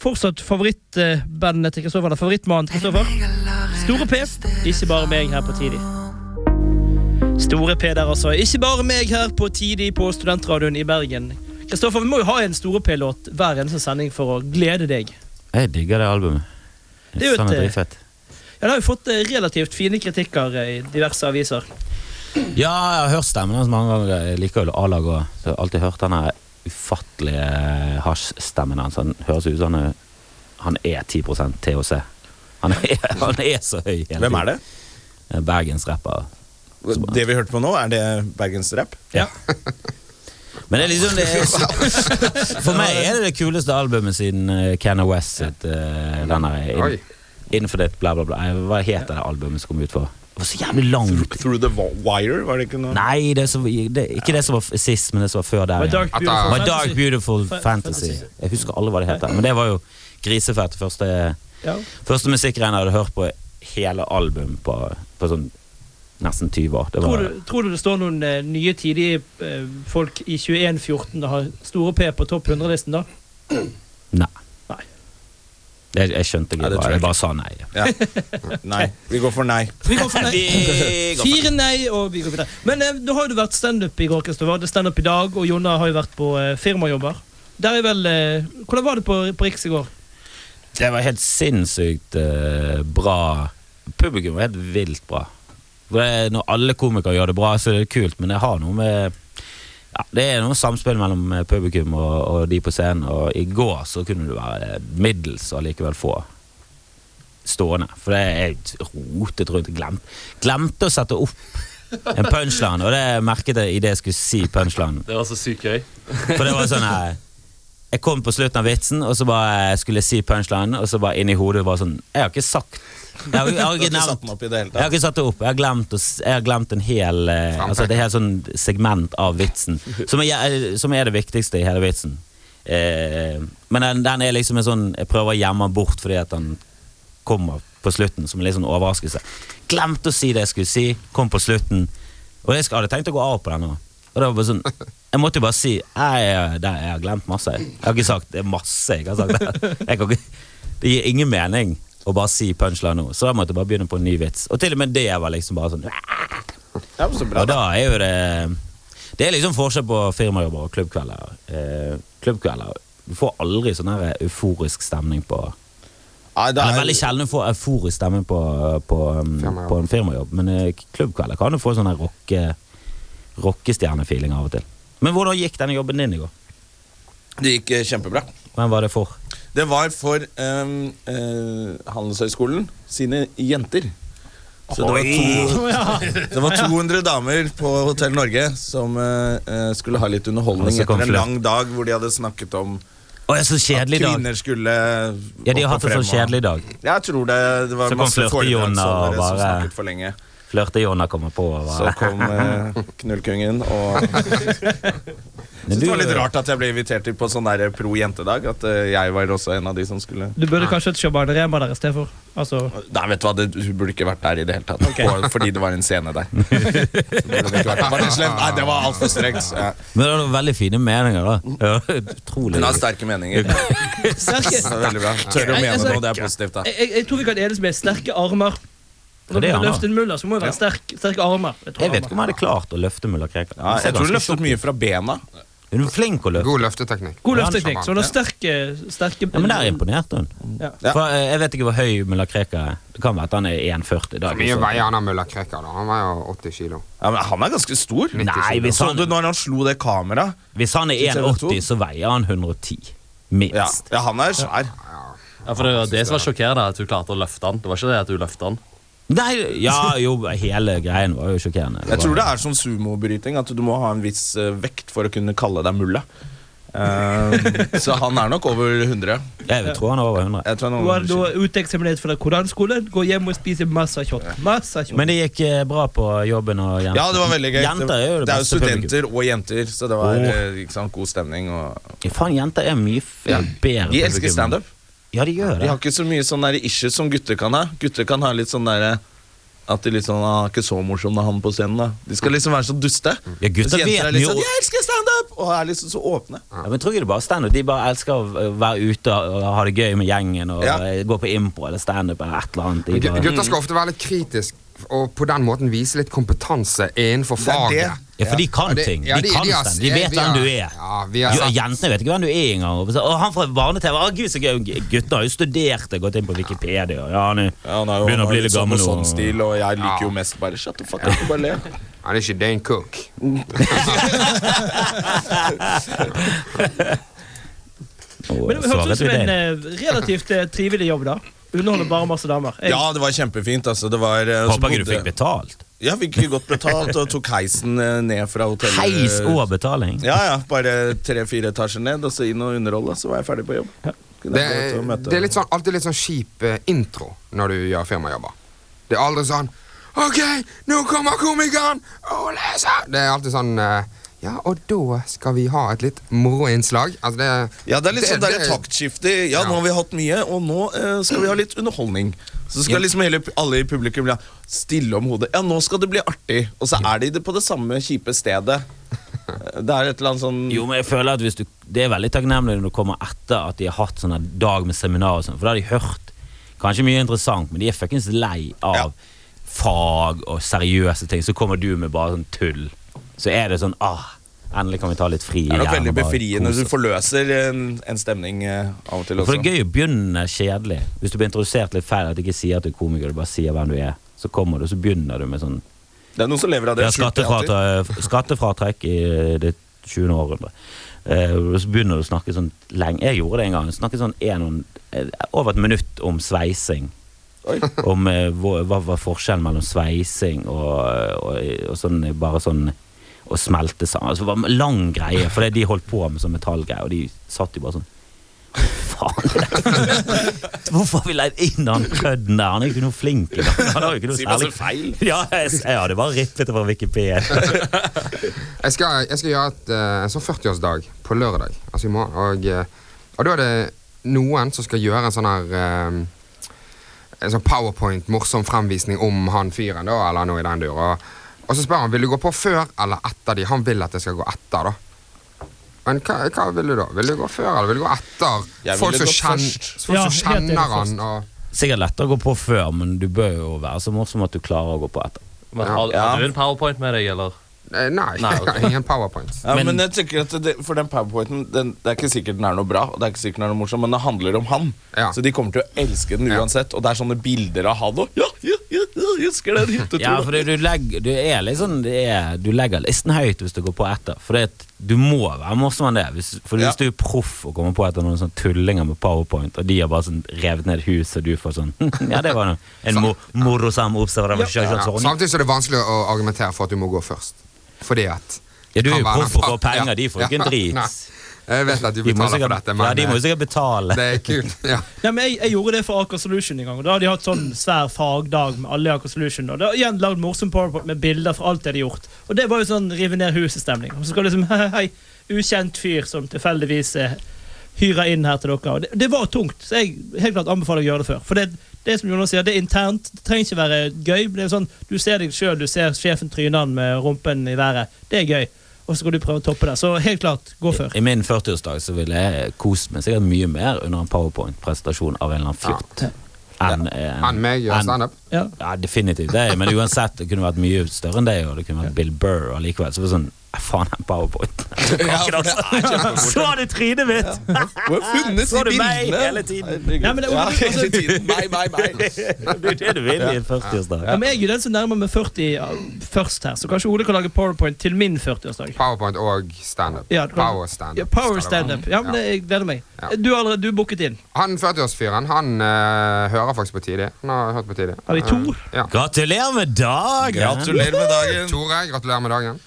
C: fortsatt favorittbandet til Kristoffer. Eller favorittmannen til Kristoffer. Store P. Ikke bare meg her på Tidlig. Store P der, altså. Ikke bare meg her på Tidlig på Studentradioen i Bergen. Kristoffer, vi må jo ha en Store P-låt hver eneste sending for å glede deg.
E: Jeg digger det albumet.
C: Det er jo
E: Sånn
C: et,
E: dritfett.
C: Ja, det har jo fått eh, relativt fine kritikker eh, i diverse aviser.
E: Ja, jeg har hørt stemmen hans mange ganger. Jeg liker jo A-lag òg. Så jeg har alltid hørt den her ufattelige hasjstemmen hans. Han høres ut som han er, han er 10 THC. Han er, *laughs* han er så høy. hele
D: Hvem er det?
E: tiden. Bergensrapper.
D: Det vi hørte på nå, er det bergensrap?
E: Men det er liksom det
D: *laughs*
E: er, For meg er det det kuleste albumet siden eh, Kanye West sitt eh, Den der
G: Oi.
E: In- Infinite bla, bla, bla. Nei, Hva heter det albumet som kom ut for? Det var så jævlig langt.
D: Through the Wire, var det ikke noe?
E: Nei, det er så, det, ikke det som var f- sist, men det som var før der.
C: My
E: igjen.
C: Dark
G: At det-
C: Beautiful
E: My
C: Fantasy.
E: Dark Beautiful
C: Fa-
E: Fantasy.
C: Fantasy.
E: Jeg husker alle hva det heter. Men det var jo grisefett. Første,
C: Ja.
E: første musikkgreien jeg hadde hørt på hele album på, på sånn nesten 20 år. Det
C: Tror,
E: var,
C: du, tror du det står noen eh, nye tidige eh, folk i 2114 og har Store P på topp 100-listen, da?
E: nei.
C: Nei.
E: Jeg, jeg skjønte
D: Nei,
E: ikke
D: det
E: hva
D: tror jeg
E: jeg
D: ikke.
E: bare sa nei.
D: Ja. Nei. Vi går for nei.
C: Vi går *laughs* for nei.
E: Vi går for-
C: Fire nei, og vi går videre. Men eh, da har jo du vært standup i går, Kristoffer. Det er standup i dag, og Jonna har jo vært på eh, firmajobber. Der er vel eh, Hvordan var det på, på Riks i går?
E: Det var helt sinnssykt eh, bra. Publikum var helt vilt bra. For det, når alle komikere gjør det bra, så er det kult, men det har noe med ja, Det er noe samspill mellom eh, publikum og, og de på scenen, og i går så kunne du være middels og likevel få stående. For det jeg rotet rundt. Glemt, glemte å sette opp en punchline, og det merket jeg idet jeg skulle si punchline.
F: Det var så sykt gøy.
E: For det var sånn her Jeg kom på slutten av vitsen, og så bare skulle jeg si punchline, og så bare inni hodet bare sånn Jeg har ikke sagt Jeg har, jeg har
D: Du har
E: ikke
D: ikke satt den
E: nevnt
D: opp i det hele
E: jeg har
D: tatt.
E: ikke satt det opp. Jeg har glemt, å s- jeg har glemt en hel eh, Altså et helt sånn segment av vitsen, som er, eh, som er det viktigste i hele vitsen. Eh, men den, den er liksom en sånn Jeg prøver å gjemme den bort fordi at den kommer på slutten som en litt sånn overraskelse. Glemte å si det jeg skulle si, kom på slutten. Og jeg sk- hadde tenkt å gå av på den nå. Og det var bare sånn Jeg måtte jo bare si «Nei, jeg, det- jeg har glemt masse. Jeg har ikke sagt det er masse jeg har sagt. Der. Jeg kan ikke, det gir ingen mening å bare si punchline nå, så da måtte jeg bare begynne på en ny vits. Og til og med det var liksom bare sånn
D: Ja, men så bra
E: og da er jo det Det er liksom forskjell på firmajobber og klubbkvelder. Eh, klubbkvelder Du får aldri sånn her euforisk stemning på
D: Nei, det
E: Eller
D: er-
E: veldig sjelden du får euforisk stemning på, på, um,
G: Firmajobb.
E: på en firmajobb, men eh, klubbkvelder kan du få sånn her rocke, rockestjernefeeling av og til. Men hvordan gikk denne jobben din i går?
D: Det gikk eh, kjempebra.
E: Hvem var det for?
D: Det var for ehm, eh, Handelshøyskolen sine jenter. Så det var, to, det var 200 damer på Hotell Norge som eh, eh, skulle ha litt
E: Og
D: underholdning
E: så kom
D: etter en
E: flø-
D: lang dag hvor de hadde snakket om
E: Å, jeg er så
D: at
E: kjedelig i dag.
D: kvinner skulle
E: Ja, de
D: opp
E: har
D: og
E: hatt en
D: frem
E: sånn
D: og-
E: kjedelig dag.
D: Jeg tror det, det var
E: Så kom
D: masse
E: flørte Jonna og
D: foredragsholdere som
E: bare-
D: snakket for lenge.
E: Flørte-Jonna kommer på. og
D: Så
E: bare-
D: kom eh, knullkongen
E: *laughs*
D: og
E: Men
D: Synes det
E: du-
D: var litt rart at jeg ble invitert til på sånn der pro jentedag. At eh, jeg var også en av de som skulle
C: Du burde kanskje hatt Shaban Rema der istedenfor. Altså,
D: Nei, vet du hva, det, Hun burde ikke vært der i det hele tatt. På- Fordi det var en scene
E: *laughs*
D: der. Så burde hun ikke vært der. Var det slemt? Nei, det var altfor strengt. Ja.
E: Men det var noen veldig fine meninger, da. Ja, *laughs* utrolig.
D: Hun har sterke meninger. Det
C: *laughs* sterke,
D: er veldig bra. Tør å
C: Nei,
D: mene
C: altså-
D: noe, det er positivt. da
C: jeg, jeg- jeg tror vi kan enes med sterke armer. Når
E: det er
C: du
E: han, da.
C: løfter en muller, så må det være sterk, sterke armer.
E: Jeg vet ikke om jeg hadde klart å løfte mulla Krekar.
D: Ja,
E: Hun ser
D: jeg tror hun
E: Altså, ganske
D: løftet mye fra bena.
E: stor- Hun er flink å løfte.
G: God løfteteknikk.
C: God
E: Ja, han er
C: løfteteknikk. Så hun har sterke, sterke
E: Ja, men der imponerte hun.
C: Ja.
E: For, eh, jeg vet ikke hvor høy mulla Krekar er. Det kan være at han er 1,40 i dag.
G: Hvor mye
E: så-
G: veier han der mulla Krekar? da? Han veier jo 80 kilo.
D: Ja, men Han er ganske stor.
E: Nei, hvis
D: Så
E: han,
D: du når han slo det kameraet?
E: hvis han er
D: Til TV 2?
E: 1,80, så veier han 110.
D: Ja,
E: Minst.
D: ja han er svær.
F: Ja, for Det var det som var sjokkerende, at hun klarte å løfte han. Det var ikke det at hun løftet han.
E: Nei, ja, jo, hele greien var jo sjokkerende.
D: Jeg tror det er som sumobryting, at du må ha en viss eh, vekt for å kunne kalle deg mulla. Eh, så han er nok over 100.
E: Jeg tror han er over 100.
D: Jeg tror han er
C: Hun er
D: over 120.
C: da uteksaminert fra koranskolen, går hjem og spiser masse kjøtt. Masse kjøtt.
E: Men det gikk eh, bra på jobben og jenter.
D: Ja, det var veldig gøy.
E: Jenter er jo det,
D: det er jo
E: beste publikum.
D: studenter og jenter, så det var
E: Åh.
D: eh, ikke sant, god stemning. Og
E: Ja, Faen, jenter er mye f bedre.
D: de elsker
E: publikum.
D: standup.
E: Ja, de gjør
D: De
E: det.
D: har ikke så mye sånn der issues som gutter kan ha. Gutter kan ha litt sånn derre at de litt sånn, ah, ikke så morsom da han på scenen da De skal liksom være så duste.
E: Ja, gutter
D: Mens jenter
E: vet
D: er litt
E: jo-
D: sånn 'Jeg elsker standup!' og er liksom så åpne.
E: Ja, men jeg tror ikke det er bare standup. De bare elsker å eh, være ute og ha det gøy med gjengen og
D: Ja.
E: eh, gå på impro eller standup eller et eller annet.
G: Gu-
E: De bare,
G: Gutter skal ofte være litt kritiske og på den måten vise litt kompetanse innenfor
D: Det er det.
G: faget.
E: ja, for de
G: Ja,
E: kan
G: det-
E: ting.
G: ja,
E: De
G: de-
E: kan
G: de har-
E: standup. De vet
G: vi har-
E: hvem du er.
G: ja, vi har
E: Jo,
G: sett-
E: Jentene vet ikke hvem du er engang. Og så, «Å, han fra barne-TV. Å, gud, så gøy. Guttene har jo studert det, gått inn på Wikipedia. Ja, han er,
D: Ja, han er jo,
E: begynner å bli litt
D: sånn, og
E: gammel.
D: sånn
E: og-
D: stil, *laughs* og jeg liker jo
G: Ja.
D: mest bare shut the fuck up og bare le.
G: Han er ikke Dane Cook.
E: *laughs* Å,
C: Men det høres
E: svaret
C: ut som
E: til
C: en
E: deg.
C: eh, relativt eh, trivelig jobb, da. Underholder bare masse damer. Jeg,
D: *laughs* Ja, det var kjempefint. altså Det var eh, så
E: Håper ikke du
D: bodde-
E: fikk betalt.
D: Ja, fikk godt betalt, og tok heisen eh, ned fra hotellet.
E: Heis og betaling.
D: Ja, ja. Bare tre-fire etasjer ned, og så inn og underholde, så var jeg ferdig på jobb. Kunne
G: Det,
D: jeg gå ut og
G: er-
D: møte-
G: det er litt sånn, alltid litt sånn kjip eh, intro når du gjør firmajobber. Det er aldri sånn OK, nå kommer komikeren! Og leser! Det er alltid sånn eh, Ja, og da skal vi ha et litt moroinnslag. Altså, det er
D: Ja, det er litt sånn der
G: det-
D: taktskifte. Ja,
G: Ja.
D: nå har vi hatt mye, og nå eh, skal vi ha litt underholdning. Så skal liksom hele, alle i publikum bli stille om hodet. Ja, nå skal det bli artig. Og så er de det på det samme kjipe stedet. Det er et eller annet sånn
E: Jo, men jeg føler at hvis du, Det er veldig takknemlig når du kommer etter at de har hatt sånne dag med seminar og sånn, for da har de hørt kanskje mye interessant, men de er fuckings lei av
D: Ja.
E: fag og seriøse ting. Så kommer du med bare sånn tull. Så er det sånn ah, Endelig kan vi ta litt fri.
D: Det er nok
E: igjen
D: veldig
E: og bare
D: befriende.
E: kose
D: Du
E: oss.
D: forløser en, en stemning eh, av og til
E: For
D: også.
E: det er gøy å begynne kjedelig. Hvis du blir introdusert litt feil, at de ikke sier at du er komiker, du bare sier hvem du er. Så kommer du, og så begynner du med sånn
D: Det er noen som lever av
E: Det
D: det.
E: er
D: skjult teater.
E: skattefratrekk, skattefratrekk i det 20. århundre. Eh, og så begynner du å snakke sånn lenge. Jeg gjorde det en gang. Snakket sånn en, og en- eh, over et minutt om sveising.
D: Oi.
E: Om eh, hva, hva var forskjellen mellom sveising og, og, og sånn eh, bare sånn å smelte sammen. Altså, det var en lang greie, for det de holdt på med sånn metallgreier, og de satt jo bare sånn Faen! Hvorfor har vi leid inn han kødden der? Han er jo ikke noe flink. i dag. Han har jo ikke noe
D: Sier masse
E: særlig
D: feil.
E: Ja, jeg, jeg hadde bare rippet over Wikipedia.
G: Jeg skal, jeg skal gjøre et, eh, en sånn 40-årsdag på lørdag, altså i morgen. Og, eh, og da er det noen som skal gjøre en sånn her eh, En sånn powerpoint, morsom fremvisning om han fyren, da, eller noe i den dur. Og, og så spør han vil du gå på før eller etter de. Han vil at jeg skal gå etter, da. Men hva, hva vil du da? Vil du gå før eller vil du gå etter?
D: Jeg
G: Folk
D: ville
G: som,
D: gått
G: kjen,
D: først.
G: folk
C: Ja,
G: som
C: helt enig,
G: kjenner
C: først.
G: han og
E: Sikkert lettere å gå på før, men du bør jo være så morsom at du klarer å gå på etter.
F: Men, har,
D: Ja.
F: har du en powerpoint med deg, eller?
G: Eh, Nei, *laughs*
F: Nei, ok.
G: ingen powerpoints.
D: Ja, men, jeg tenker at det, For den powerpointen den, Det er ikke sikkert den er noe bra, og det er ikke sikkert den er noe morsom, men det handler om han.
G: Ja.
D: Så de kommer til å elske den uansett. Og det er sånne bilder av han òg. Ja, ja, ja, ja, jeg husker den hytteturen.
E: Ja, for det, du, legger, du er liksom det er, Du legger listen høyt hvis du går på etter. For det, at du må være morsom enn det. Hvis, for
D: Ja.
E: hvis du er proff og kommer på etter noen sånne tullinger med powerpoint, og de har bare sånn revet ned huset, og du får sånn *laughs* Ja, det var noe. en mo morosam observasjon.
G: Ja,
E: Sånn.
G: samtidig så er det vanskelig å argumentere for at du må gå først. Fordi at
E: Ja, du er
G: kan
E: jo
G: være
E: proff og
G: den-
E: får penger,
G: Ja,
E: de får ikke en
G: ja,
E: drit.
G: nei. Jeg vet at de
E: De må
G: betaler for
E: sikkert,
G: dette,
E: ja,
G: men
E: de må jo
G: eh,
E: sikkert betale.
G: det er kult. *laughs* Ja.
C: Nei, men jeg, jeg gjorde det for Aker Solution en gang. og Da hadde de hatt sånn svær fagdag med alle i Aker Solution. Og da hadde de igjen lagd morsom powerpoint med bilder fra alt de hadde gjort. Og det var jo sånn rive ned huset-stemning. Og så skal liksom *laughs* hei, hei, ukjent fyr som tilfeldigvis eh, hyrer inn her til dere. Og det, det var tungt, så jeg helt klart anbefaler å gjøre det før. For det, det som Jonas sier, det er internt. Det trenger ikke være gøy. men Det er sånn, Du ser deg sjøl, du ser sjefen tryne han med rumpen i været. Det er gøy. Og så skal du prøve å toppe det. Så helt klart, gå før.
E: I min 40-årsdag så ville jeg kost meg sikkert mye mer under en powerpoint-presentasjon av en eller annen fjott. Enn eh,
G: Enn meg gjør
E: enn-
G: standup.
C: Ja.
E: Ja, definitivt. Det, men uansett, det kunne vært mye større enn det, og det kunne vært Bill Burr og likevel. Så det var sånn eh, Faen, den powerpointen. Jeg kan ikke danse. sånn. *laughs* Så du trynet mitt!
D: Du
E: *laughs*
D: har funnet
E: Så
D: de
E: du meg
D: bildene!
E: hele tiden?
C: Nei, men det, altså,
D: Ja, hele tiden. Meg, meg, meg.
E: *laughs* Det er jo det du vil i en 40-årsdag.
C: Ja, men jeg er jo den som nærmer meg 40 ja, først her, så kanskje Ole kan lage powerpoint til min 40-årsdag.
G: Powerpoint og standup.
C: Ja, det kan-
G: Power standup.
C: Ja, power
G: skal det være.
C: standup. Ja, men det, jeg gleder meg.
G: Ja.
C: Du er allerede du er booket inn.
G: Han 40-årsfyren, han eh, hører faktisk på tidlig. Han har hørt på tidlig.
C: Har vi to?
G: Eh, ja.
E: Gratulerer med dagen!
D: Gratulerer med dagen.
G: *laughs* Tore, gratulerer med dagen.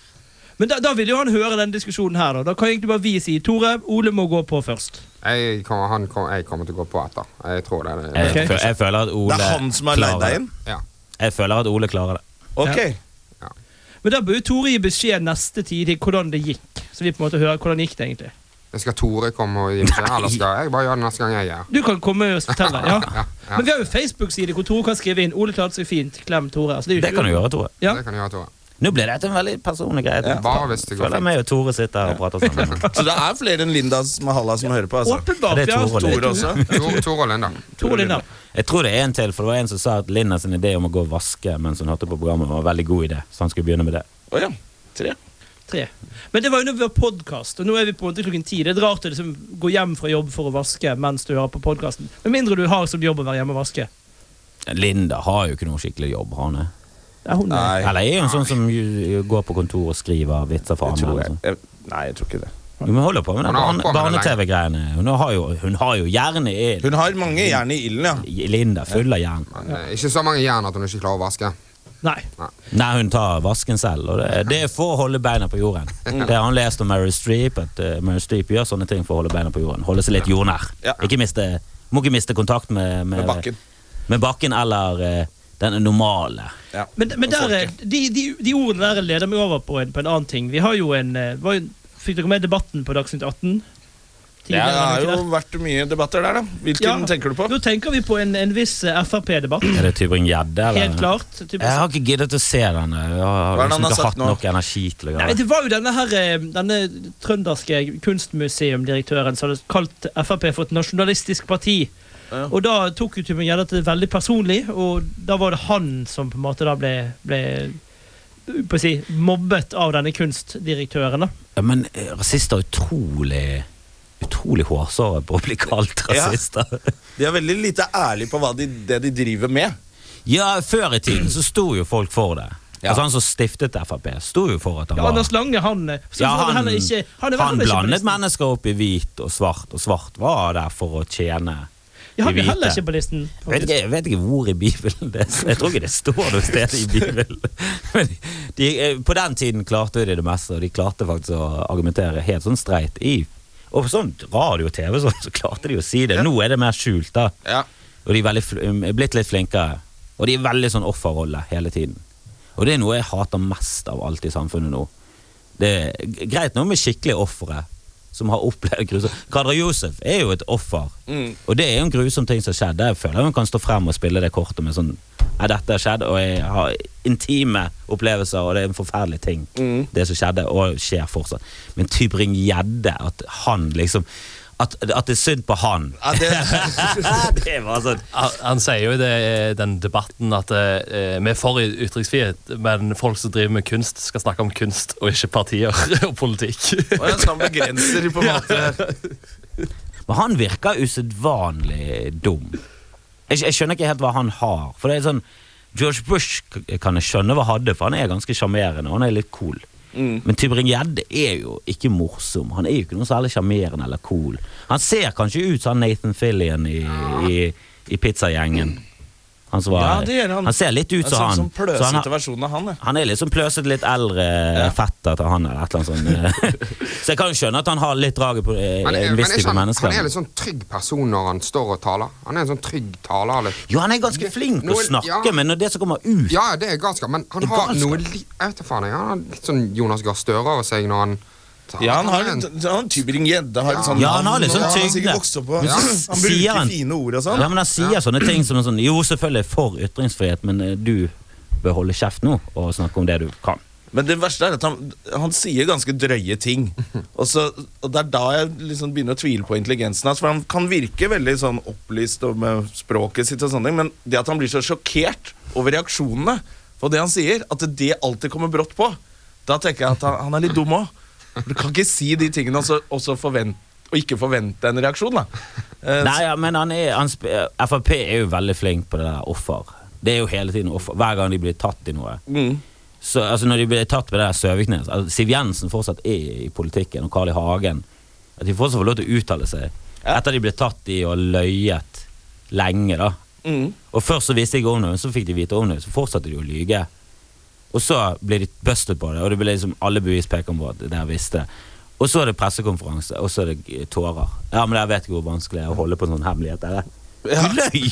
C: Men da, da vil jo han høre den diskusjonen her, da. Da kan egentlig bare vi si Tore, Ole må gå på først.
G: Jeg kommer, han kom, jeg kommer til å gå på etter. Jeg tror det. er det.
E: Jeg, fø- jeg føler at Ole
D: Det er han som har leid
E: klarer
D: deg
E: det.
D: inn?
G: Ja.
E: Jeg føler at Ole klarer det.
D: Ok.
C: Men da bør jo Tore gi beskjed neste tid i hvordan det gikk. Så vi på en måte hører hvordan det gikk det egentlig.
G: Skal Tore komme og gi seg, eller skal jeg bare gjøre det neste gang jeg er her?
C: Du kan komme og fortelle. Ja.
G: *laughs* Ja, ja.
C: Men vi har jo Facebook-side hvor Tore kan skrive inn 'Ole klarte seg fint', klem Tore. Altså, det er jo
E: Det
C: ikke-
E: kan du gjøre, Tore.
C: Ja.
G: Det kan du gjøre, Tore.
E: Nå ble dette en veldig personlig greie.
G: Bare hvis det går
E: Føler
G: fint.
E: meg og Tore sitter her og prater sammen.
G: *laughs*
D: Så det er flere enn Linda som har Halla som hører på, altså.
C: Åpenbart.
E: Det er
C: vi har
E: Tore,
C: to-
D: Tore også.
G: Tore, Tore og Linda.
C: Tore Lindahl.
E: Jeg tror det er en til, for det var en som sa at Linda sin idé om å gå og vaske mens hun hørte på programmet, var en veldig god idé, så han skulle begynne med det.
D: Å ja. Tre.
C: Tre. Men det var jo når vi var podkast, og nå er vi på en måte klokken ti. Det er rart å liksom gå hjem fra jobb for å vaske mens du hører på podkasten. Med mindre du har som jobb å være hjemme og vaske.
E: Linda har jo ikke noe skikkelig jobb, har hun det?
C: Ja, hun, er-
D: Nei.
E: Eller er hun sånn som jo- går på kontor og skriver vitser for
D: Jeg
E: andre? sånn?
D: tror
E: eller
D: jeg.
E: sånn?
D: jeg Nei, jeg tror ikke det.
E: Hun holder på med
G: Hun har holdt
E: den
G: på med det
E: barne-TV-greiene. Hun, har jo- hun har jo jern i ilden.
D: Hun har mange jern i ilden, ja.
E: Linda full av jern.
G: Men, eh, ikke så mange jern at hun ikke klarer å vaske.
C: Nei.
E: Nei, hun tar vasken selv, og det, det er for å holde beina på jorden.
D: Mm.
E: Det har han lest om Meryl Streep, at eh, Meryl Streep gjør sånne ting for å holde beina på jorden. Holde seg litt jordnær.
D: Ja.
E: Ikke miste, må ikke miste kontakt med,
D: Med bakken.
E: med bakken eller eh, den normale.
D: Ja.
C: Men, men
D: Og
C: der, er-
D: folket.
C: de, de, de ordene der leder meg over på en, på en annen ting. Vi har jo en eh, var, jo- Fikk dere med debatten på Dagsnytt 18?
D: Det
C: Tidligere, var
D: har
C: det ikke
D: jo
C: det?
D: vært mye debatter der, da. Hvilken
C: Ja.
D: tenker du på?
C: Nå tenker vi på en, en viss eh, Frp-debatt.
E: Er det Tybring-Gjedde? eller?
C: Helt klart. Typisk-
E: Jeg har ikke giddet å se den. Jeg
D: Hva er
E: har
D: det han
E: liksom
D: har
E: ikke
D: sagt
E: hatt
D: nå?
E: nok energi til å gjøre
C: Nei,
E: det.
C: det var jo denne her eh, Denne trønderske kunstmuseumdirektøren som hadde kalt Frp for et nasjonalistisk parti.
D: Ja.
C: Og da tok jo Tybring Gjedde det veldig personlig, og da var det han som på en måte da ble, ble på å si, mobbet av denne kunstdirektøren. da.
E: Ja, men eh, rasister er utrolig Utrolig hårsåre på å bli kalt
D: Ja.
E: rasister.
D: De er veldig lite ærlige på hva de, det de driver med.
E: Ja, før i tiden så sto jo folk for det.
D: Ja.
E: Altså Han som stiftet Frp, sto jo for at han
C: Ja,
E: var
C: Anders Lange, han eh, så
E: Ja,
C: var det
E: han,
C: heller ikke, han, er vel
E: han
C: heller ikke på
E: blandet
C: listen.
E: mennesker opp i hvit og svart, og svart var der for å tjene
C: Ja, han
E: de
C: er heller
E: hvite.
C: ikke på listen.
E: Jeg vet, ikke, jeg vet ikke hvor i Bibelen det er. Jeg tror ikke det står noe sted i Bibelen. *laughs* Men de, eh, på den tiden klarte de det meste, og de klarte faktisk å argumentere helt sånn streit i Og på sånn radio og TV sånn, så klarte de å si det. Nå er det mer skjult, da.
D: Ja.
E: Og de er veldig, fl- um, er blitt litt flinkere. Og de er veldig sånn offerrolle hele tiden. Og det er noe jeg hater mest av alt i samfunnet nå. Det er g- greit noe med skikkelige ofre som har opplevd grusom Kadra Josef er jo et offer.
D: Mm.
E: Og det er jo en grusom ting som skjedde. Jeg føler hun kan stå frem og spille det kortet med sånn Nei, dette har skjedd, og jeg har intime opplevelser, og det er en forferdelig ting,
D: Mm.
E: det som skjedde, og skjer fortsatt. Men Tybring-Gjedde, at han liksom at, at det er synd på han.
D: Ja, det,
E: *laughs* det var sånn
F: Han, han sier jo i det- eh, den debatten at eh, vi er for ytringsfrihet, men folk som driver med kunst, skal snakke om kunst og ikke partier *laughs* og politikk.
D: og ja, så han begrenser på en måte
E: Men han virker usedvanlig dum. Jeg, jeg skjønner ikke helt hva han har. For det er sånn George Bush k- kan jeg skjønne hva han hadde, for han er ganske sjarmerende og han er litt cool. Men Tybring-Gjedde er jo ikke morsom. Han er jo ikke noe særlig sjarmerende eller cool. Han ser kanskje ut som han Nathan Fillian i, i, i pizzagjengen. Han, som var,
D: Ja, det gjør han.
E: han ser litt ut
D: En
E: som
D: sånn,
E: han.
D: sånn
E: så han,
D: pløsete
E: har-
D: versjon av han. Ja.
E: han er liksom pløset litt eldre eh, fetter til han, eller et eller annet sånt.
G: *laughs*
E: så jeg kan jo skjønne at han har litt draget på eh,
G: Men, er-
E: en
G: men
E: viss
G: er ikke
E: type
G: han,
E: mennesker.
G: han er litt sånn trygg person når han står og taler. Han er en sånn trygg taler. Litt.
E: Jo, han er ganske flink til å
G: Noe-
E: snakke,
G: ja.
E: men når det som kommer ut
G: Ja, det er galskap, men han
E: Det er
G: har
E: galskap.
G: noe li Jeg vet da faen, jeg. Han har litt sånn Jonas Gahr Støre over seg når han taler.
D: Ja, han har
G: er en-
D: litt han Tybring-Gjedde har litt sånn
E: Ja, han har litt
D: navn,
E: sånn
D: og han har
E: tyngde.
D: sikkert vokst opp på
E: Men
D: ja.
E: så
D: Han
E: sier
D: bruker
E: han-
D: fine ord og
E: Ja,
D: sånn.
E: men han sier sånne ting som er sånn Jo, selvfølgelig er jeg for ytringsfrihet, men eh, du bør holde kjeft nå og snakke om det du kan.
D: Men det verste er at han, han sier ganske drøye ting. Og, så, og det er da jeg liksom begynner å tvile på intelligensen hans. For han kan virke veldig sånn opplyst og med språket sitt, og sånne ting, men det at han blir så sjokkert over reaksjonene på det han sier, at det alltid kommer brått på, da tenker jeg at han, han er litt dum òg. Du kan ikke si de tingene og, så, og, så forvent, og ikke forvente en reaksjon, da. Eh,
E: Nei, ja, men han er, han, sp- eh, Frp er jo veldig flink på det der offer. Det er jo hele tiden offer. Hver gang de blir tatt i noe. Så, altså, når de blir tatt med det der Søviknes altså, Siv Jensen fortsatt er i politikken, og Carl I. Hagen. At de fortsatt får lov til å uttale seg. Etter de ble tatt i og løyet lenge, da. Og først så visste jeg ikke om det, men så fikk de vite om det, så fortsatte de å lyge. Og så ble de bustet på det, og det ble liksom alle bevis peker på at der visste. Og så er det pressekonferanse, og så er det eh, tårer. Ja, men jeg vet ikke hvor vanskelig det er å holde på en sånn hemmelighet. Er det?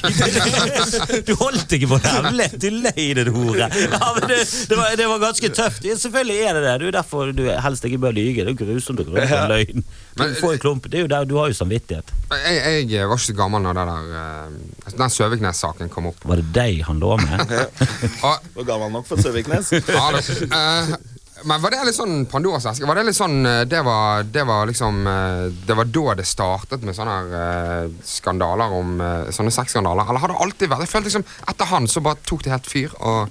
E: Du løy! *laughs* Du holdt ikke på det hemmelig! Du løy, din hore! Ja, men det, det, var, det var ganske tøft. Ja, selvfølgelig er det det. Det er jo derfor du helst ikke bør lyge. Det er jo grusomt å gå rundt på en løgn. Du
G: Men-
E: får jo klump. Det er jo der, du har jo samvittighet.
G: Jeg, jeg var ikke så gammel når det der eh, altså, den Søviknes-saken kom opp.
E: Var det deg han lå med?
G: Og,
D: Var gammel nok for Søviknes.
G: *laughs* ja, det, eh, men var det litt sånn Pandoras eske? Var det litt sånn eh, Det var, det var liksom eh, Det var da det startet med sånne her, eh, skandaler om eh, Sånne sexskandaler? Eller har det alltid vært Jeg følte liksom Etter han så bare tok det helt fyr, og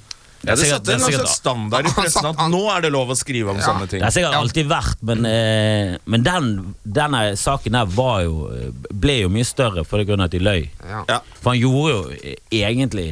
D: Ja, det
E: sikkert-
D: satte en
E: det er sikkert-
D: slags standard i pressen at nå er det lov å skrive om sånne ting.
E: Det har sikkert alltid vært, men, eh, men den, denne saken der var jo, ble jo mye større på grunn av at de løy.
G: ja.
D: Ja.
E: For han gjorde jo eh, egentlig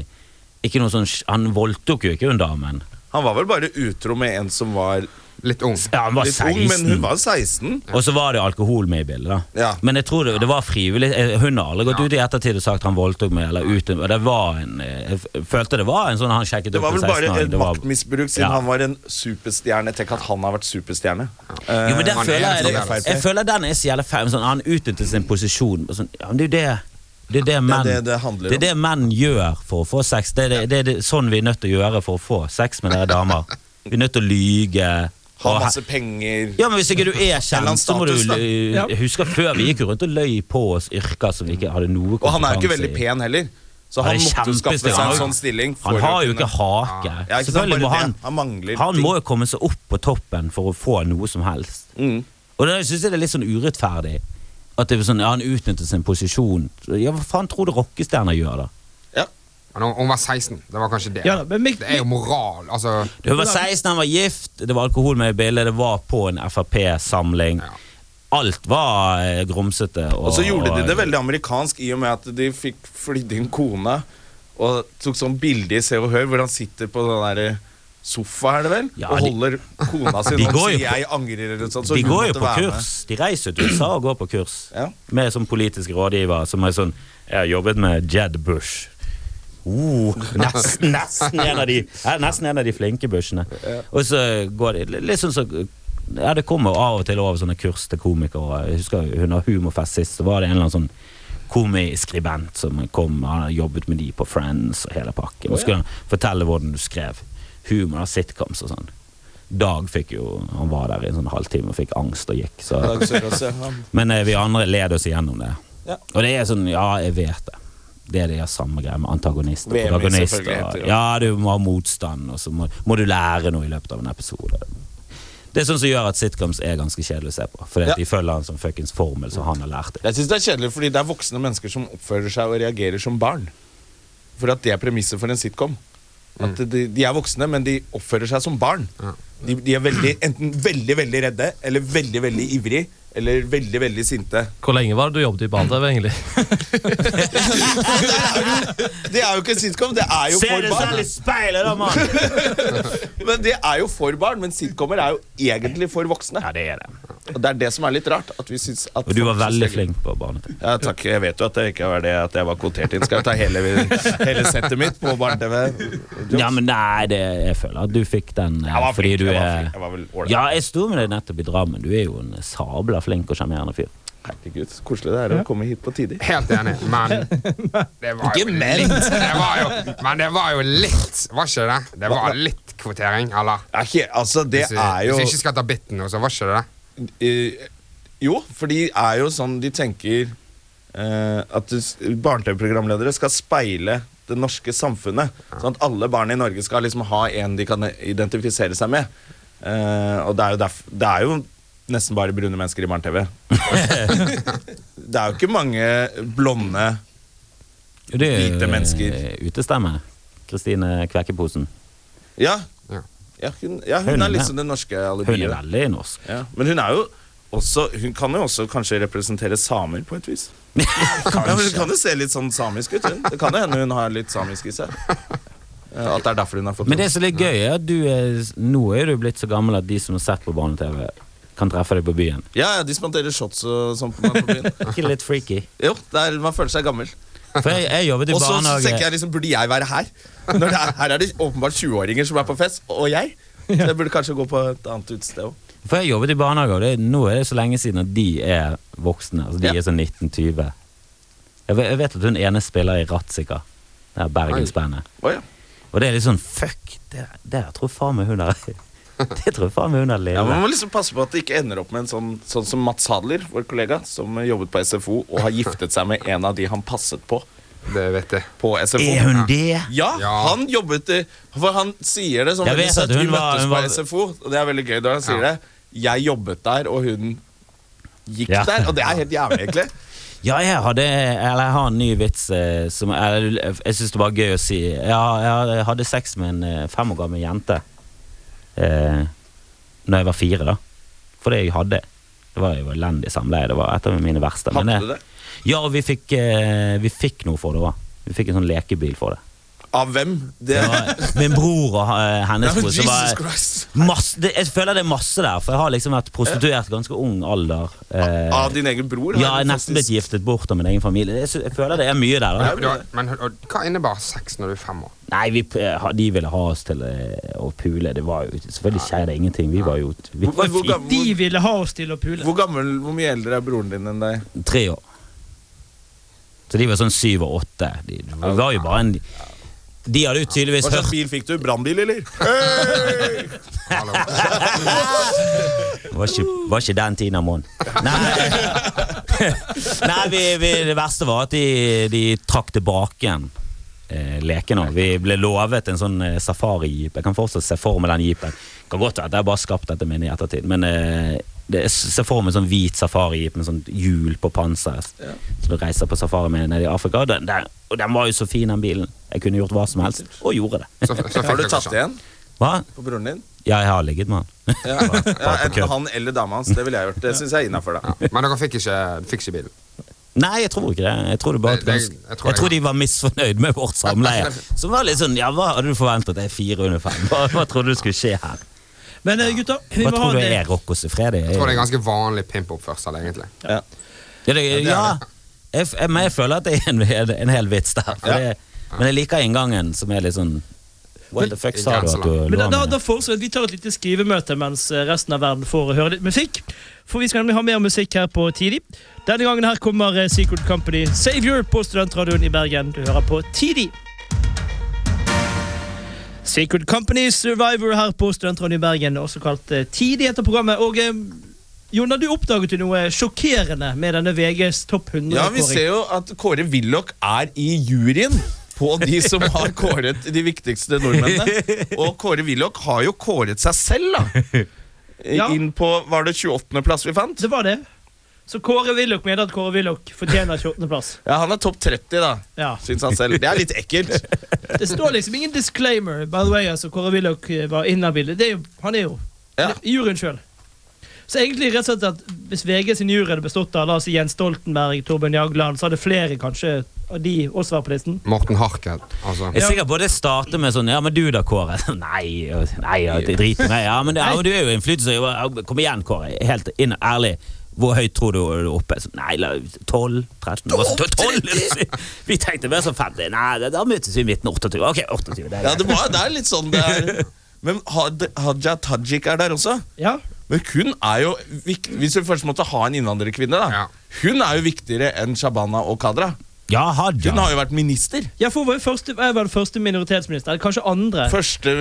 E: ikke noe sånn sj- Han voldtok jo ikke hun damen.
D: Han var vel bare utro med en som var
G: Litt ung.
E: Ja, han var
D: litt ung, men
E: 16.
D: hun var 16.
E: Og så var det jo alkohol med i bildet. da
D: Ja.
E: Men jeg tror det, det var frivillig. Eh, Hun har aldri gått ut i ettertid og sagt han voldtok meg. Eller ut, og det var en, eh, jeg f- følte det var en sånn han sjekket
D: Det var
E: opp
D: vel
E: en
D: bare
E: 16-åring.
D: et
E: Det var-
D: maktmisbruk, siden
E: Ja.
D: han var en superstjerne. Tenk at han har vært superstjerne. Eh,
E: Jo, men der
G: han er
E: føler jeg,
G: en
E: det,
G: sånn
E: jeg,
D: jævla
E: føler den er så jævla feil. Sånn, han utnytter sin posisjon. og Sånn, ja, men det er jo det det er det, menn,
D: det det handler
E: er det menn gjør for å få sex. Det er, det, det er det, sånn vi er nødt til å gjøre for å få sex med dere damer. Vi er nødt til å lyge.
D: ha
E: og he-
D: masse penger.
E: ja, men Hvis ikke du er
D: annen
E: kjent, så må du
D: status, da.
E: l-
C: Ja.
E: huske at før vi gikk jo rundt og løy på oss yrker som vi ikke hadde noe
D: Og han er jo ikke
E: kompetanse
D: veldig
E: i.
D: pen heller, så
E: Han
D: han
E: er
D: måtte jo skaffe
E: kjempestil.
D: seg
E: Han
D: en
E: har-
D: sånn stilling.
E: Han
D: for
E: har jo
D: å kunne-
E: ikke hake.
D: Ja, ikke sant,
E: Selvfølgelig må
D: bare det.
E: han
D: Han mangler
E: Han
D: ting. Mm.
E: må jo komme seg opp på toppen for å få noe som helst. Og det syns jeg det er litt sånn urettferdig. At det er sånn, ja, Han utnyttet sin posisjon. Ja, Hva faen tror du rockestjerner gjør, da?
D: Ja.
G: Men hun, hun var 16. Det var kanskje det.
C: Ja, da, men Mik-
G: det er jo moral. Altså
E: Du var 16, han var gift, det var alkohol med i bildet, det var på en Frp-samling.
G: Ja.
E: Alt var eh, grumsete.
D: Og så gjorde de det veldig amerikansk i og med at de fikk flydd inn kona og tok sånn bilde i Se og Hør hvor han sitter på den der eh, sofa, er det vel,
E: Ja,
D: og
E: de-
D: holder
E: *laughs*
D: kona si
E: De
D: og
E: går jo
D: sier
E: på-
D: 'jeg angrer' eller sånn. Så
E: de
D: hun
E: går jo
D: måtte
E: på
D: være med.
E: kurs. De reiser til USA og går på kurs.
D: Ja.
E: Med sånn politisk rådgiver som er sånn Jeg har jobbet med Jed Bush. Oh, nesten, nesten, en av de, ja, nesten en av de flinke bushene. Og så går de litt sånn så ja, Det kommer av og til over sånne kurs til komikere. Jeg husker Under Humorfest sist så var det en eller annen sånn komiskribent som kom. Han hadde jobbet med de på Friends og hele pakken. Og skulle han fortelle hvordan du skrev humor og sitcoms og sånn. Dag fikk jo, han var der i en sånn halvtime og fikk angst og gikk. Så.
D: Dag Sørås, ja. Han-
E: Men eh, vi andre led oss igjennom det.
D: Ja.
E: Og det er sånn, ja, jeg vet det. Det er det er samme greia med antagonist og
D: Veming
E: protagonist.
D: selvfølgelig
E: og-
D: heter det.
E: Ja, du må ha motstand, og så må, må du lære noe i løpet av en episode. Det er sånn som gjør at sitcoms er ganske kjedelig å se på. Fordi
D: Ja.
E: at de følger en sånn fuckings formel som han har lært det.
D: Jeg synes det er kjedelig fordi det er voksne mennesker som oppfører seg og reagerer som barn. For at det er premisset for en sitcom. At
E: Mm.
D: de, de er voksne, men de oppfører seg som barn. De, de er veldig, enten veldig veldig redde, eller veldig veldig ivrig, eller veldig veldig sinte. *laughs*
F: Hvor lenge var det du jobbet i barne-TV, egentlig?
D: Det er jo ikke en sitcom, det er jo
E: Se
D: for
E: deg selv i
D: *laughs* barn.
E: speilet, da, mann!
D: Men det er jo for barn, men sitcomer er jo egentlig for voksne.
E: Ja, det er det.
D: Og det er det som er litt rart. At vi synes at
E: Og du var
D: folk synes
E: veldig
D: det er gøy.
E: flink på barne-TV.
D: Ja, takk. Jeg vet jo at jeg ikke var det At jeg var kvotert inn. Skal jeg ta hele, hele settet mitt på barne-TV?
E: Ja, men nei, det, jeg føler at du fikk den eh,
D: Jeg var
E: fordi
D: flink.
E: du
D: Jeg var,
E: er
D: flink. Jeg var vel ålreit.
E: Ja, jeg sto med deg nettopp i Drammen. Du er jo en sabla flink og sjarmerende fyr.
D: Herregud, så koselig det er å komme hit på tider.
G: Helt enig, men det var jo litt det var jo, Men det var jo litt, var ikke det? det? Det var litt kvotering, eller?
D: Er ikke, altså, det
G: Hvis vi,
D: er jo
G: hvis vi ikke skal ta altså, biten nå, så var ikke det det?
D: eh, Jo, for de er jo sånn De tenker eh, at du s- barne-TV-programledere skal speile det norske samfunnet. Sånn at alle barn i Norge skal liksom ha en de kan identifisere seg med. Eh, og det er, jo derf det er jo nesten bare brune mennesker i barne-TV. det er jo ikke mange blonde
E: Det er jo,
D: Hvite mennesker.
E: eh, Utestemme. Kristine Kvekkeposen.
D: Ja,
G: Ja.
D: ja, hun, ja
E: Hun
D: hun
E: er
D: er liksom
E: med.
D: det norske
E: Hun er
D: alibiet.
E: veldig norsk.
D: Ja, men hun er jo også Hun kan jo også kanskje representere samer på et
E: *laughs*
D: vis. Ja, men hun kan jo se litt sånn samisk ut. Hun. Det kan jo hende hun har litt samisk i seg. Eh, At det er derfor hun har fått
E: Men det som er litt gøy, er at du er, nå er du blitt så gammel at de som har sett på barne-TV, kan treffe deg på
D: *laughs*
E: byen.
D: Ja, ja, de spanderer shots og sånn på meg på
E: *laughs*
D: byen.
E: Er ikke det litt freaky?
D: Jo, det er, man føler seg gammel.
E: For jeg, jeg jobbet i
D: Og så tenker
E: barnehage.
D: jeg liksom, burde jeg være her? Når det er, her er det åpenbart 20-åringer som er på fest, og jeg. Så jeg burde kanskje gå på et annet utested òg.
E: For jeg jobbet i barnehage, og det, er- nå er det så lenge siden at de er voksne. Altså de
D: Ja.
E: er sånn 1920. Jeg, ve- jeg vet at hun ene spiller i Ratzika. Det er Bergensbandet.
D: Å ja.
E: Og det er litt sånn fuck, det, det der tror jeg faen meg hun har *laughs* Det tror jeg faen meg hun har
D: Ja, men Man
E: levd.
D: må liksom passe på at det ikke ender opp med en sånn, sånn som Mats Hadler, vår kollega, som eh, jobbet på SFO og har giftet seg med en av de han passet på
G: Det vet jeg.
D: på SFO.
E: Er hun det?
D: Ja,
G: Ja.
D: han jobbet i- For han sier det sånn, som
E: Jeg
D: veldig
E: vet
D: søtt.
E: at hun
D: Vi møttes
E: var- hun
D: på
E: var-
D: SFO, og det er veldig gøy når han sier
G: Ja.
D: det. Jeg jobbet der, og hun gikk
E: Ja.
D: der. Og det er helt jævlig, egentlig.
E: Ja, jeg, hadde, eller jeg har en ny vits eh, som eller, jeg syns det var gøy å si. Ja, jeg hadde sex med en eh, fem år gammel jente eh, Når jeg var fire, da. For det jeg hadde. Det var jo elendig samleie. Det var et av mine verste. men
D: Hadde
E: jeg-
D: du det?
E: Ja, og vi fikk, eh, vi fikk noe for det òg. Vi fikk en sånn lekebil for det.
D: Av hvem? Det,
E: det var, min bror og eh,
D: Ja,
E: hennes
D: men
E: bror. så var
D: Jesus
E: jeg-
D: Christ!
E: Masse, det, jeg føler det er masse der, for jeg har liksom vært prostituert ganske ung alder. Eh,
D: Av din egen bror?
E: ja,
D: har
E: jeg er
D: du
E: nesten blitt
D: faktisk-
E: giftet bort av min egen familie. Jeg, sy- jeg føler det er mye der.
G: Men,
E: da
G: du- men og, hva innebar sex når du er fem år?
E: Nei, vi, p- eh, ha- De ville ha oss til eh, å pule. Det var jo selvfølgelig skjer det ingenting. Vi var jo vi
D: Hvor,
E: var
D: hvor,
E: fri,
D: gammel,
C: De
D: hvor,
C: ville ha oss til å pule.
D: hvor gammel Hvor mye eldre er broren din enn deg?
E: tre år. Så de var sånn syv og åtte. De, det var jo bare en De hadde jo tydeligvis
D: Hva slags
E: hørt
D: bil fikk du? Brannbil, eller?
G: Hallo.
E: Det var ikke, var ikke den tiden av måneden. Nei, Nei vi, vi, det verste var at de, de trakk tilbake igjen eh, leken. også. Vi ble lovet en sånn eh, safari-jeep. Jeg kan fortsatt se for meg den jeepen. Kan godt være at jeg bare har skapt dette minnet i ettertid, men eh, det, jeg ser for meg en sånn hvit safari-jeep med sånn hjul på panseret. Så du reiser på safari med nede i Afrika. Og den, den, og den var jo så fin, den bilen. Jeg kunne gjort hva som helst, og gjorde det.
G: Så, så fikk
D: Har du
G: dere
D: tatt
G: sånn.
D: igjen
E: Hva?
D: på broren din?
E: Ja, jeg har ligget med han.
D: Ja. ja,
E: *laughs* Bare på
D: Enten
E: kødd.
D: han eller dama hans. Det ville jeg gjort. Det syns jeg er innafor, da.
G: Men dere fikk ikke, fikk ikke bilen?
E: Nei, jeg tror ikke det. Jeg tror, det bare
G: Det- det-
E: jeg,
G: jeg
E: tror
G: tror jeg-
E: de var misfornøyd med vårt samleie.
G: *laughs*
E: Som var litt sånn, ja, Hva hadde du forventet? Jeg er fire under fem. Hva, hva trodde du skulle skje her?
C: Men eh, gutter, vi
E: Hva
C: må ha
E: tror du
C: det.
E: er Rocco Sefredi?
G: Jeg tror det er ganske vanlig pimpoppførsel, egentlig.
E: Ja, det, ja jeg, f- jeg, men jeg føler at det er en, hel- en hel vits der. For
D: Ja.
E: det, men jeg liker inngangen, som er litt sånn What the fuck sa du at du
C: Men da,
E: lå
C: da,
E: med?
C: da foreslår jeg at vi tar et lite skrivemøte mens eh, resten av verden får høre litt musikk. For vi skal nemlig ha mer musikk her på Tidlig. Denne gangen her kommer eh, Secret Company Savior på Studentradioen i Bergen. Du hører på Tidlig. Secret Company Survivor her på Studentradioen i Bergen, også kalt eh, Tidlig etter programmet. Og eh, Jonna, du oppdaget jo noe sjokkerende med denne VGs topp 100-kåring.
D: Ja, Vi ser jo at Kåre Willoch er i juryen på de som har kåret de viktigste nordmennene. Og Kåre Willoch har jo kåret seg selv, da.
C: Ja.
D: Inn på Var det 28.-plass vi fant?
C: Det var det. Så Kåre Willoch mener at Kåre Willoch fortjener 28.-plass.
D: *laughs* Ja, Han er topp 30, da.
C: Ja.
D: Syns han selv. Det er litt ekkelt.
C: Det står liksom ingen disclaimer. By the way, altså, Kåre Willoch eh, var inhabil. Det er jo, han er jo
D: Ja.
C: det er juryen sjøl. Så egentlig rett og slett at Hvis VG sin jury hadde bestått av la oss si Jens Stoltenberg, Torbjørn Jagland, så hadde flere kanskje av de også vært på listen.
G: Morten Harket, altså.
E: Jeg er sikker på at det starter med sånn Ja, men du da, Kåre. *laughs* Nei, nei ja, det driter jeg i. Ja, men det- ja, men du er jo innflytelse. Ja, Kom igjen, Kåre. Helt inn, ærlig. Hvor høyt tror du du er oppe? Så, Nei, la- 12? 13? Hva, så, 12? *laughs* Vi tenkte mer som 50. Nei, da- da møtes vi i midten. 28. Ok, 28. Det er
D: Ja,
E: greit.
D: det, var, det er litt sånn det er. Men Had, Haja Tajik er der også.
C: Ja,
D: Men hun er jo vik- Hvis vi først måtte ha en innvandrerkvinne, da.
G: Ja.
D: Hun er jo viktigere enn Shabana og Kadra.
E: Ja, Hadia.
D: Hun har jo vært minister.
C: ja for hun var jo første, jeg var den første minoritetsminister. eller Kanskje andre.
D: Første,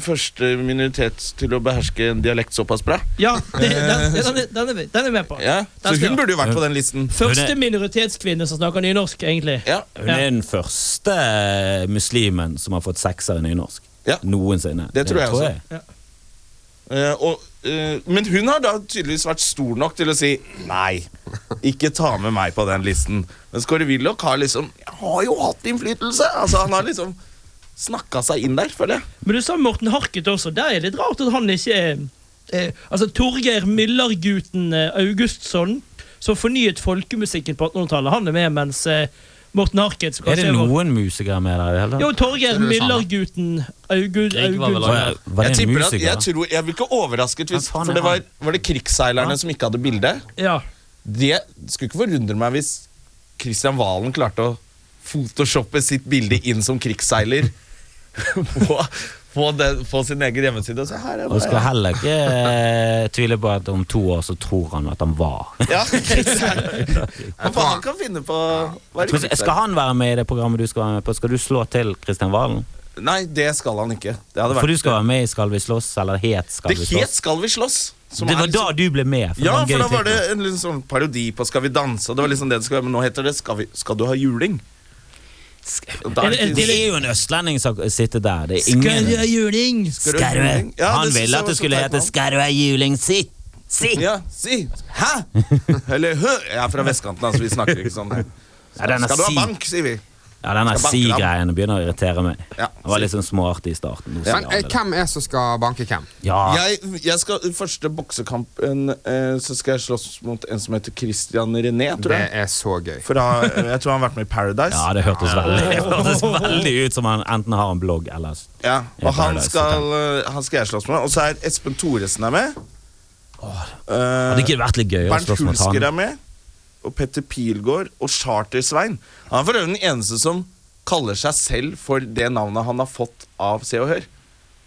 D: første minoritet til å beherske en dialekt såpass bra.
C: Ja, det, den, den, er- den, er, vi- den er med på.
D: Ja, Så
C: Den skal
D: hun
C: jeg ha.
D: burde jo vært på den listen.
C: Første minoritetskvinne som snakker nynorsk, egentlig.
D: Ja,
E: Hun er den første muslimen som har fått sekser i nynorsk.
D: Ja.
E: Noensinne.
D: Det tror jeg også. eh, og, eh, men hun har da tydeligvis vært stor nok til å si nei. Ikke ta med meg på den listen. Mens Kåre Willoch har liksom har jo hatt innflytelse. Altså Han har liksom snakka seg inn der, føler jeg.
C: Men du sa Morten Harket også. Der er det litt rart at han ikke er eh, Altså Torgeir Myllarguten eh, Augustsson, som fornyet folkemusikken på 1800-tallet, han er med, mens eh, Morten Harket som
E: Er det
C: kanskje var-
E: noen musikere med der i det hele tatt?
C: Jo, Torgeir
G: Så er det det samme.
C: Myllarguten August,
F: Grieg var vel
E: Var,
C: Augustsson.
E: jeg- var
D: Jeg,
E: det en
D: tipper at,
E: musiker?
D: jeg, tror, jeg blir ikke overrasket hvis
E: Hva faen er
D: For det var,
E: han?
D: var det krigsseilerne som ikke hadde bilde.
C: Ja.
D: Det skulle ikke forundre meg hvis Kristian Valen klarte å photoshoppe sitt bilde inn som krigsseiler *laughs* på, på, den, på sin egen hjemmeside. Så her er
E: Og skal
D: bare,
E: heller ikke eh, tvile på at om to år så tror han at han var.
D: ja,
E: *laughs*
D: *laughs* krigsseiler. Hva faen han kan finne på hva er det
E: Skal
D: krigsseiler?
E: han være med i det programmet du skal være med på? Skal du slå til Kristian Valen?
D: Nei, det skal han ikke. Det hadde
E: For du
D: vært
E: skal være med i Skal vi slåss, eller het Skal
D: Det
E: vi
D: het
E: slåss?
D: Skal vi slåss. som
E: Det
D: er
E: var
D: liksom-
E: da du ble med.
D: Ja,
E: en gøy
D: for da var det
E: tittel.
D: en litt sånn parodi på Skal vi danse. og Det var liksom det det skulle være, Men nå heter det Skal, vi, skal du ha juling? Da
C: Er
D: er det
C: det-
E: Det
D: ikke-
E: er jo en østlending som sitter der. Det er ingen
C: juling?
D: du ha
E: Skarve.
D: juling? Ja,
E: Han
D: det synes jeg
E: ville at
D: var
E: det
D: så
E: skulle
D: teit
E: hete
D: navn.
E: Skarve juling, si! Si!
D: Ja, si! Hæ? Eller hø? Jeg er fra vestkanten, altså. Vi snakker ikke sånn. her.
E: Ja, denne
D: Skal du
E: si-
D: ha bank, sier vi.
E: Ja, denne
D: Skal banke
E: si-greien begynner å irritere meg.
D: Ja,
E: Han var litt sånn smarty i starten. Nå sier
G: Men
E: han
G: eh,
E: det.
G: hvem er som skal banke hvem?
E: Ja,
D: Jeg, jeg skal, Første boksekampen eh, så skal jeg slåss mot en som heter Christian René, tror
G: Det
D: jeg.
G: er så gøy.
D: For da, eh, jeg tror han har vært med i Paradise.
E: ja det hørtes veldig, *laughs* det hørtes veldig ut som han enten har en blogg eller
D: Ja,
E: Ja,
D: og han
E: Paradise,
D: skal, eh, han skal jeg slåss med. Og så er Espen Thoresen er med.
E: Hadde
D: Eh,
E: ikke det vært litt gøy å
D: Bernt
E: slåss mot han?
D: Hulsker er med. Og Petter Pilgaard og Charter-Svein. Han er for øvrig den eneste som kaller seg selv for det navnet han har fått av Se og Hør.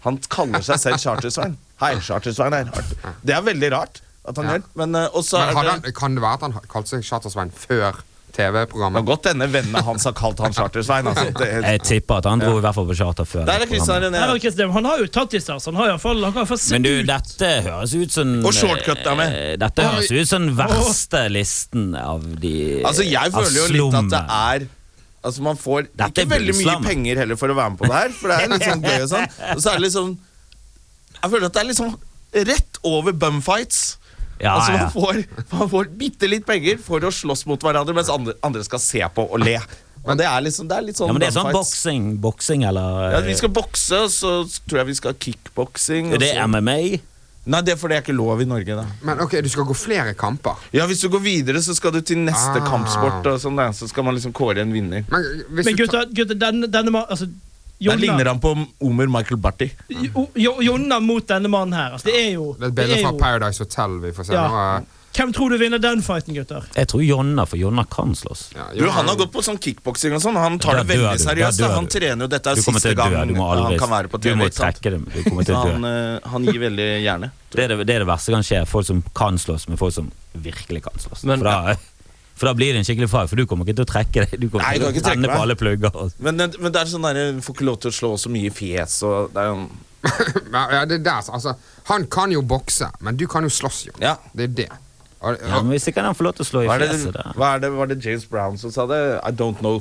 D: Han kaller seg selv Charter-Svein. Hei, Charter-Svein her. Det er veldig rart at han
G: Ja.
D: gjør men, eh, og så
G: Men
D: er
G: hadde
D: det.
G: han, kan det være at han kalte seg Charter-Svein før
D: Det kan
G: TV-programmet?
D: godt hende vennene hans har kalt han Charter-Svein. Altså. Det-
E: Jeg tipper at han dro i hvert fall på charter før.
D: Der er
E: det
D: Christian
E: programmet.
D: René.
C: Nei, men Christian, han har jo tattiser, så han har iallfall Han kan iallfall se
E: Men du,
C: ut.
E: dette høres ut som
D: Og shortcut er med.
E: eh, Dette høres ut som den verste listen av de
D: Altså, jeg
E: Eh, av
D: føler jo litt at det
E: slummen.
D: er Altså, man får
E: Dette
D: ikke
E: er
D: veldig mye
E: bunnslam.
D: penger heller for å være med på det her, for det er litt sånn gøy og sånn. Og så er det liksom Jeg føler at det er liksom rett over bumfights.
E: Ja,
D: altså, man
E: ja.
D: får, man får bitte litt penger for å slåss mot hverandre, mens andre, andre skal se på og le. Men det er liksom det er litt sånn
E: ja, men det er sånn
D: bumfights.
E: boksing, boksing eller
D: Ja, vi skal bokse, og så tror jeg vi skal ha kickboksing. og
E: Er eh, det
D: så-
E: MMA?
D: Nei, det er fordi det er ikke lov i Norge, da.
G: Men ok, du skal gå flere kamper.
D: Ja, Hvis du går videre, så skal du til neste
G: Ah.
D: kampsport, og sånn da, så skal man liksom kåre en vinner.
G: Men, eh, hvis
C: Men
G: du tar-
C: gutta, gutta denne, denne ma- altså,
D: Der ligner
C: Jonna,
D: han på Omer Michael Barty.
C: Jo- Jo- Jonna mot denne mannen her. Altså, det er jo,
G: det er et
C: det
G: bilde
C: er
G: fra
C: jo
G: Paradise Hotel vi får se.
C: Ja.
G: nå, eh,
C: Hvem tror du vinner den fighten, gutter?
E: Jeg tror Jonna, for Jonna kan slåss.
G: ja,
D: Du,
G: jo,
D: han har gått på sånn kickboksing og sånn. og Han tar
E: Da
D: det
E: dør
D: veldig
E: du, da
D: seriøst.
E: dør
D: da. Han
E: du.
D: trener jo dette
E: Du
D: er
E: kommer
D: siste
E: til å
D: gang
E: dø. Du må aldri
D: han kan være på
E: Du
D: TV.
E: må
D: ikke sant?
E: trekke det. Du kommer til
D: Så
E: å
D: han,
E: dø.
D: eh, han gir veldig gjerne.
E: Det er det, det er det verste kan skje. Folk som kan slåss, med folk som virkelig kan slåss.
F: Men-
E: for, da, for da blir det en skikkelig fight, for du kommer ikke til å trekke deg. Du kommer
D: Nei, jeg kan
E: til å
D: ikke trekke
E: tenne
D: meg.
E: på alle plugger. og-
D: Men, det- men det er sånn der, du får ikke lov til å slå så mye i fjes og det er jo
G: Ja, ja, det er der, altså, han kan jo bokse, men du kan jo slåss, jo.
D: Ja.
G: Det er det. Og,
E: Ja, men Hvis ikke kan han få lov til å slå i
D: hva er,
E: fjeset,
D: det,
E: da.
D: hva er det Var det James Brown som sa det? I don't know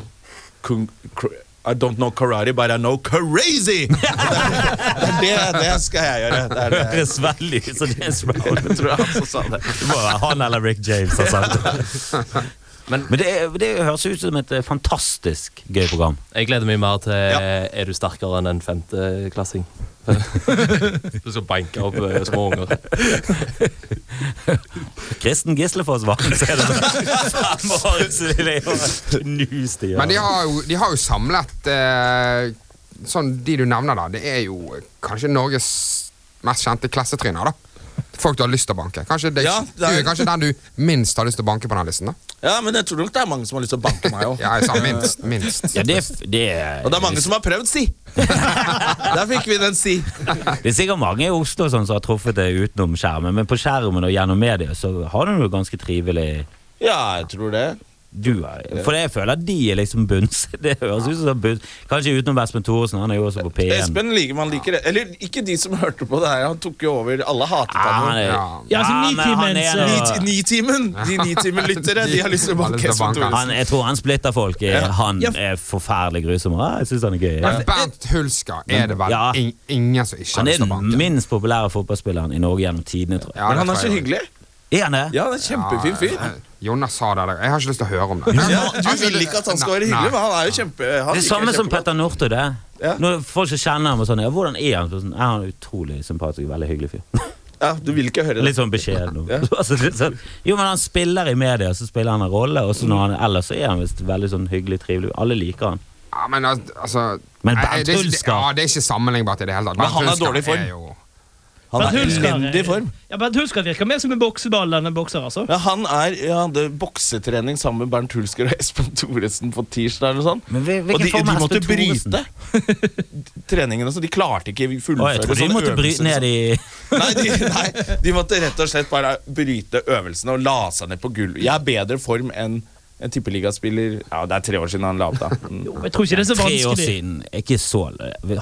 D: kung, kr- I don't know karate, but I know
E: *laughs*
D: crazy! Det, er- *laughs* det, er det, det skal jeg gjøre. Det er det.
E: høres veldig ut som James Brown.
D: Jeg tror han som sa det.
E: Det må være han eller Rick James har sagt det.
F: Men
E: altså. Men det, er, det høres ut som et eh, fantastisk gøy program.
F: jeg gleder meg mer til eh,
D: Ja.
F: Er du sterkere enn en femteklassing? du skal banke opp eh, små unger.
E: Kristen Gislefoss var så er det
D: *laughs*
E: sånn fem år siden jeg var knust i
G: Men de
E: hjel.
G: har jo, de har jo samlet eh, Sånn de du nevner, da. Det er jo eh, kanskje Norges mest kjente klassetryner, da. Folk du har lyst til å banke. Kanskje det,
D: Ja, det er-
G: Du er kanskje den du minst har lyst til å banke på den listen. da
D: Ja, men jeg tror nok det er mange som har lyst til å banke meg
E: *laughs*
D: òg.
G: *laughs* Ja, jeg sa minst. minst.
E: Ja, det, er f- det, er-
D: Og det er mange som har prøvd,
E: *laughs*
D: si! Der fikk vi den, si.
E: det er sikkert mange i Oslo sånn, som har truffet det utenom skjermen, men på skjermen og gjennom media så har du det jo ganske trivelig.
D: Ja, jeg tror det.
E: Du er, for jeg føler at de er liksom bunns. *laughs* Det høres ut som bunns. Kanskje utenom Espen Thoresen, han er jo også på P1.
D: Espen liker man liker det. Eller ikke de som hørte på det her. Han tok jo over. Alle hatet
E: Ja, Ah, han
D: han jo.
E: er-
G: Ja.
C: Ja, altså,
E: Ja, men han
C: Nitimen,
E: er
C: så-
E: nå-
D: Ni- Nitimen! De Nitimen-lyttere de har lyst til å
G: Alle
D: banke
G: skal
D: Espen
G: banke han.
D: Thoresen.
E: Han, jeg tror han splitter folk. Eh, Han
C: Ja.
E: er forferdelig grusom. Ah, Jeg syns han er gøy. Ja.
G: Bernt Hulska er det vel
E: Ja.
G: in ingen som ikke
E: Han
G: har
E: er
G: lyst til å
E: den
G: banke.
E: minst populære fotballspilleren i Norge gjennom tidene, tror jeg.
G: Ja,
D: Men
G: det
D: han er
G: tror
D: så
G: jeg.
D: hyggelig.
E: Er han det?
D: Ja, han er Kjempefin fyr.
G: Ja, Ah, Jonas sa det. der. Jeg har ikke lyst til å høre om det.
D: Ja, du vil ikke at han skal være hyggelig, men han er jo kjempe... Han
E: Det
D: liker
E: samme
D: det
E: som
D: kjempegodt.
E: Petter Northug. det.
D: Ja.
E: Når folk som kjenner ham og sånn, ja, hvordan er han? Så Sånn, er han er utrolig sympatisk, veldig hyggelig fyr.
D: Ja, du vil ikke høre det.
E: Litt sånn
D: *laughs*
E: beskjeden. og- *laughs* altså, litt sånn. Jo, men han spiller i media, så spiller han en rolle, og så når han ellers så er han visst veldig sånn hyggelig, trivelig. Alle liker han.
G: Ja, men al- altså
E: Men
G: nei,
E: Bernt
G: det er ikke-
E: Hulsker-
G: Ja, det er ikke sammenlignbart i det hele tatt.
D: Men han er
G: Hulsker
D: dårlig form.
G: jo-
D: Han
C: Bernt
D: er i
C: Hulsker- eh,
D: elendig form.
C: Ja, Bernt Hulsker virker mer som en bokseball enn en bokser, altså.
D: Ja, han er, ja, han hadde boksetrening sammen med Bernt Hulsker og Espen Thoresen på tirsdag. eller noe sånt.
E: Men hvil- hvilken
D: Og de,
E: form er
D: de måtte
E: Espen Thoresen?
D: bryte *laughs* treningene, så de klarte ikke
E: Og
D: fullføre liksom.
E: jeg tror de måtte bryte ned
D: *laughs*
E: i
D: Nei de, nei, de måtte rett og slett bare bryte øvelsene og la seg ned på gulvet. Jeg er bedre form enn en tippeligaspiller Ja, det er tre år siden han la opp, da. Mm.
C: Jeg tror ikke det er så
E: tre år
C: vanskelig.
E: siden. Ikke så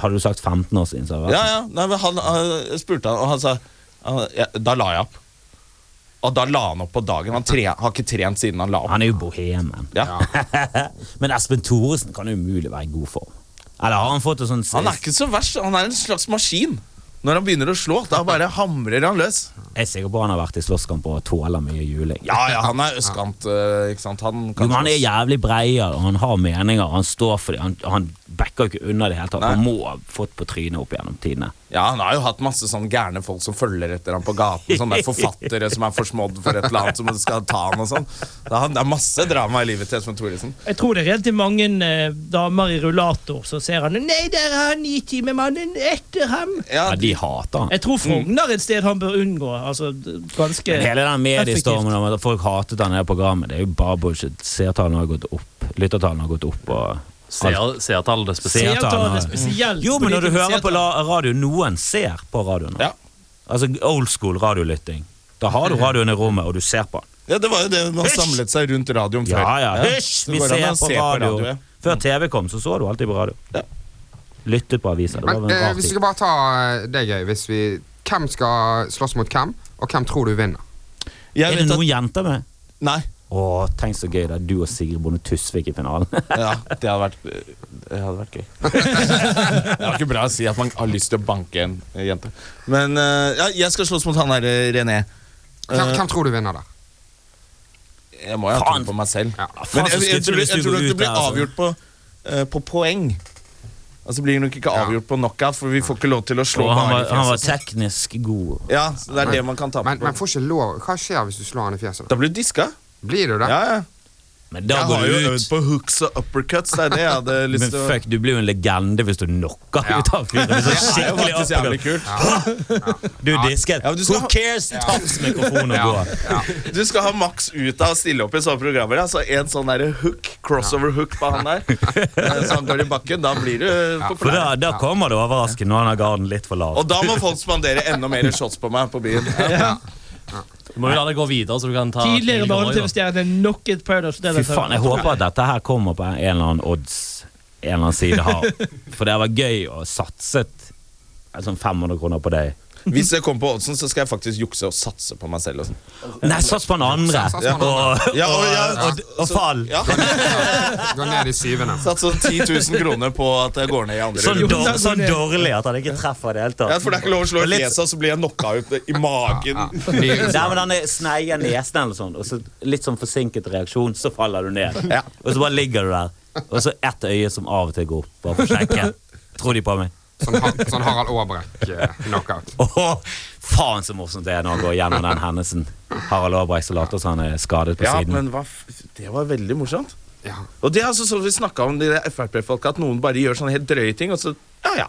E: Hadde du sagt 15 år siden, så hadde det vært
D: Ja, ja, nei, men han, han spurte han, og han sa han, ja, Da la jeg opp. Og da la han opp på dagen. Han tre, har ikke trent siden han la opp.
E: Han er jo bohemen.
D: Ja.
E: *laughs* Men Espen Thoresen kan jo umulig være i god form. Eller har han fått en sånn
D: Han er ikke så verst. Han er en slags maskin. Når han begynner å slå, da bare hamrer han løs.
E: Jeg er sikker på han har vært i slåsskamp og tåler mye juling.
D: Ja, ja, han er østkant, eh, ikke sant. Han
E: Jo,
D: kan
E: men han er jævlig breier, og han har meninger, og han står for det. Han, han backer jo ikke unna det hele tatt.
D: Nei.
E: Han må ha fått på trynet opp gjennom tidene.
D: Ja, han har jo hatt masse sånn gærne folk som følger etter ham på gaten. Sånne der forfattere som er forsmådd for et eller annet som skal ta han og sånn. Det er, han- det er masse drama i livet til Espen Thoresen.
C: Jeg tror det er relativt mange eh, damer i rullator som ser han Nei, der er han Nitimen-mannen etter ham!
D: Ja,
E: Ja, de hater han.
C: Jeg tror Frogner er et sted han bør unngå. Altså, d- ganske
E: Mm. Hele den mediestormen
C: effektivt.
E: om at folk hatet han i det programmet, det er jo bare bullshit. Seertallene har gått opp. Lyttertallene har gått opp. og...
F: Ser- Seertallene spesielt.
E: Seertallene.
C: Seertallene spesielt.
E: Jo, men når du hører på
C: Seertall-
E: la- radio, noen ser på radioen.
D: Ja.
E: Altså old school radiolytting. Da har du radioen i rommet, og du ser på den.
D: ja det var jo det man
E: Hysj!
D: samlet seg rundt radioen før.
E: Ja, ja. Hysj!
D: så
E: Vi
D: går det an å
E: ser på
D: se
E: radio.
D: ja.
E: Før TV kom, så så du alltid på radio.
D: Ja.
E: Lyttet på aviser. Det var
G: Men
E: en
G: eh,
E: rar
G: hvis vi
E: tid.
G: skal bare ta eh, deg, Øy, hvis vi Hvem skal slåss mot hvem, og hvem tror du vinner?
D: Jeg
E: Er det
D: vet
E: noen
D: at
E: jenter med?
D: Nei.
E: Å, tenk så gøy det er du og Sigrid Bonde Tusvik i finalen.
D: Ja, det hadde vært Det hadde vært gøy. *laughs* det var ikke bra å si at man har lyst til å banke en eh, jente. Men eh, ja, jeg skal slåss mot han der eh, René.
G: Hvem,
D: Eh,
G: hvem tror du vinner der?
D: Jeg må jo ha
E: Faen.
D: tro på meg selv.
G: Ja.
E: faen,
D: Men
E: så
D: jeg, jeg,
E: skuffende
D: tror,
E: hvis du
D: jeg tror
E: går
D: nok
E: ut
D: det blir
E: der, altså.
D: avgjort på, eh, på poeng. Altså blir det nok ikke avgjort på knockout, for vi får ikke lov til å slå
E: Og han,
D: bare
E: var,
D: i
E: han var
D: fjeset.
E: teknisk god.
D: Ja, så det er det man kan tape
G: Men,
D: på.
G: men får ikke lov Hva skjer hvis du slår han i fjeset? da?
D: Da blir du diska.
G: Blir du det?
D: Ja, ja.
E: Men da
D: Jeg
E: går
D: har jo
E: du
D: øvd
E: ut.
D: på hooks og uppercuts. Det er det jeg hadde
E: *laughs*
D: lyst
E: Men
D: til å
E: fuck, du blir jo en legende hvis du knocker
G: Ja.
E: ut av fyren. med sånn
D: Det er jo
E: skikkelig
D: faktisk jævlig
E: uppercut.
D: kult.
E: Du er disket.
D: Ja, men du skal
E: Who
D: ha-
E: cares? Taps mikrofon og gå.
D: Du skal ha maks ut av å stille opp i sånne programmer. Altså en sånn der hook, crossover hook på han der. Eh, Så han går i bakken. Da blir du
E: For
D: populær.
E: da, da kommer det overraskende når han har garden litt for lav.
D: Og da må folk spandere enda mer shots på meg på byen.
F: Du må jo la det gå videre, så du kan ta
C: Tidligere
F: Norge, da.
C: barne-TV-stjerne Knocket Paradise Hotel.
E: Fy faen, jeg håper at dette her kommer på en eller annen odds En eller annen side har For det var gøy å satset eh, sånn 500 altså, kroner på deg
D: Hvis jeg kommer på oddsen, så skal jeg faktisk jukse og satse på meg selv. Og sånn.
E: Nei, sats på den andre!
G: Sats på den andre.
E: Og,
D: Ja, og- ja,
E: og, og, og fall!
D: Ja.
G: *laughs* Gå ned i syvende.
D: Satt sånn 10 000 kroner på at jeg går ned i andre
E: Sånn,
D: runde.
E: dår, sånn dårlig at han ikke treffer i det hele tatt.
D: Ja, for det er ikke lov å slå
E: Og
D: i
E: litt-
D: fjeset, og så blir jeg knocka ut i magen.
G: Nyre.
E: Nei, men han er- sneier nesen eller sånn, og så litt sånn forsinket reaksjon, så faller du ned.
D: Ja.
E: Og så bare ligger du der. Og så ett øye som av og til går opp, bare for å sjekke. Tror de på meg?
G: Sånn, Har- sånn Harald eh, Aabrekk-knockout.
E: Åh, faen så morsomt det er når han går gjennom den hendelsen. Harald Aabrecht som later som han er skadet på
D: Ja,
E: siden.
D: men hva f det var veldig morsomt.
G: Ja.
D: Og det er altså sånn vi snakka om de Frp-folka, at noen bare gjør sånne helt drøye ting, og så ja, ja.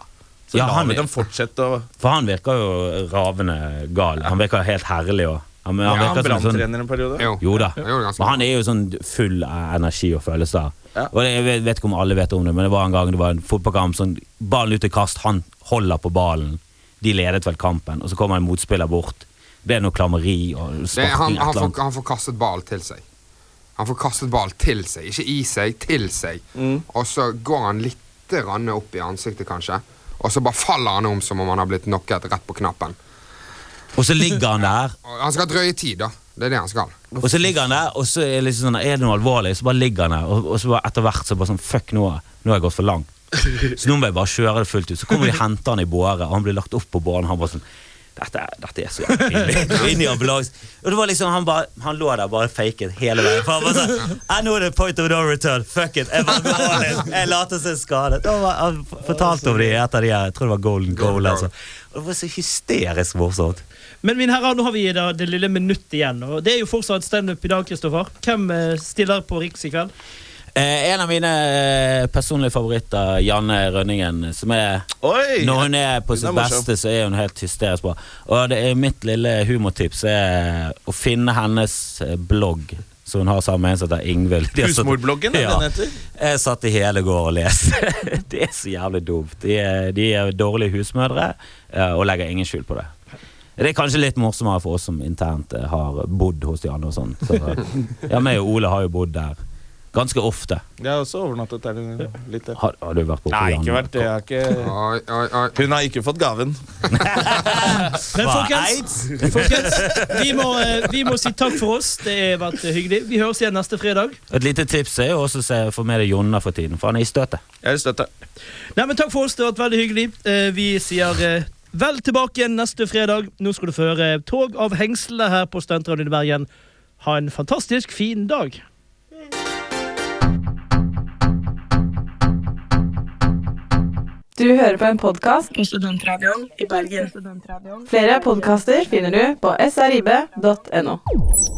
D: Så
E: Ja,
D: lar
E: han
D: vi
E: er-
D: dem fortsette å
E: For han virker jo ravende gal. Han virker helt herlig òg. Han, han
D: Ja, han
E: virker som en sånn
D: branntrener en periode.
G: Jo.
E: Jo da.
G: Det gjorde ganske
E: Men han er jo sånn full av energi og følelser.
D: Ja.
E: Og det, jeg vet, vet ikke om alle vet om det, men det var en gang det var en fotballkamp. Sånn, ballen ut i kast, han holder på ballen. De ledet vel kampen, og så kommer en motspiller bort. Det ble noe klammeri og
G: Det,
E: sparking.
G: han,
E: et
G: han,
E: eller
G: får,
E: annet.
G: han får kastet ball til seg. Han får kastet ball til seg, ikke i seg, til seg. Og så går han litt rann opp i ansiktet, kanskje. Og så bare faller han om som om han har blitt knocket rett på knappen.
E: Og så ligger han der,
G: Og han skal ha drøye tid, da. Det er det han skal.
E: og så ligger han der, og så er, det liksom sånn, er det noe alvorlig, så bare ligger han der. Og, og så bare etter hvert så bare sånn Fuck, nå, nå har jeg gått for langt. Så nå må jeg bare kjøre det fullt ut. Så kommer de og henter han i båre, og han blir lagt opp på båren. Han bare sånn dette, er- dette er så jævlig pinlig. Inn i ambulansen. Og det var liksom, han, bare, han lå der bare faket hele veien. For han bare sånn «Ah, Nå er det point of no return. Fuck it. Jeg bare går all in. Jeg later som jeg er skadet. Og han- han fortalte om det i et av de her, jeg tror det var Golden Goal. Altså. Og det var så hysterisk morsomt.
C: Men mine herrer, nå har vi da det lille minuttet igjen. Og det er jo fortsatt standup i dag, Kristoffer. Hvem eh, stiller på Riks i kveld?
E: Eh, en av mine eh, personlige favoritter, Janne Rønningen, som er
D: Oi!
E: Når hun er
D: Hun
E: på
D: er
E: sitt
D: morsom.
E: beste, så er hun helt hysterisk bra. Og det er mitt lille humortips er å finne hennes eh, blogg, som hun har sammen med en som heter Ingvild. De har satt-
D: Husmorbloggen, er det
E: Ja.
D: den heter?
E: Jeg satt i hele går og leste. *laughs* det er så jævlig dumt. De er, de er dårlige husmødre eh, og legger ingen skjul på det. Det er kanskje litt morsommere for oss som internt eh, har bodd hos de andre og sånn. Så, ja, meg og Ole har jo bodd der ganske ofte.
D: Jeg har også overnattet der en- litt. der.
E: Har, har du vært på
D: Nei,
E: Jan?
D: ikke vært det. Jeg har ikke
G: Oi, oi, oi.
D: hun har ikke fått gaven.
C: Men
E: Hva,
C: folkens, folkens vi, må, eh, vi må si takk for oss. Det har vært eh, hyggelig. Vi høres igjen neste fredag.
E: Et lite tips er jo også å se- få med deg Jonna for tiden, for han er i støtet.
D: Jeg er støtte.
C: Nei, men Takk for oss. Det har vært veldig hyggelig. Eh, Vi sier eh, vel tilbake igjen neste fredag. Nå skal du få høre Tog av hengslene her på Studentradioen i Bergen. Ha en fantastisk fin dag.
H: Du hører på en podkast.
B: På studentradioen i Bergen.
H: Flere podkaster finner du på srib.no.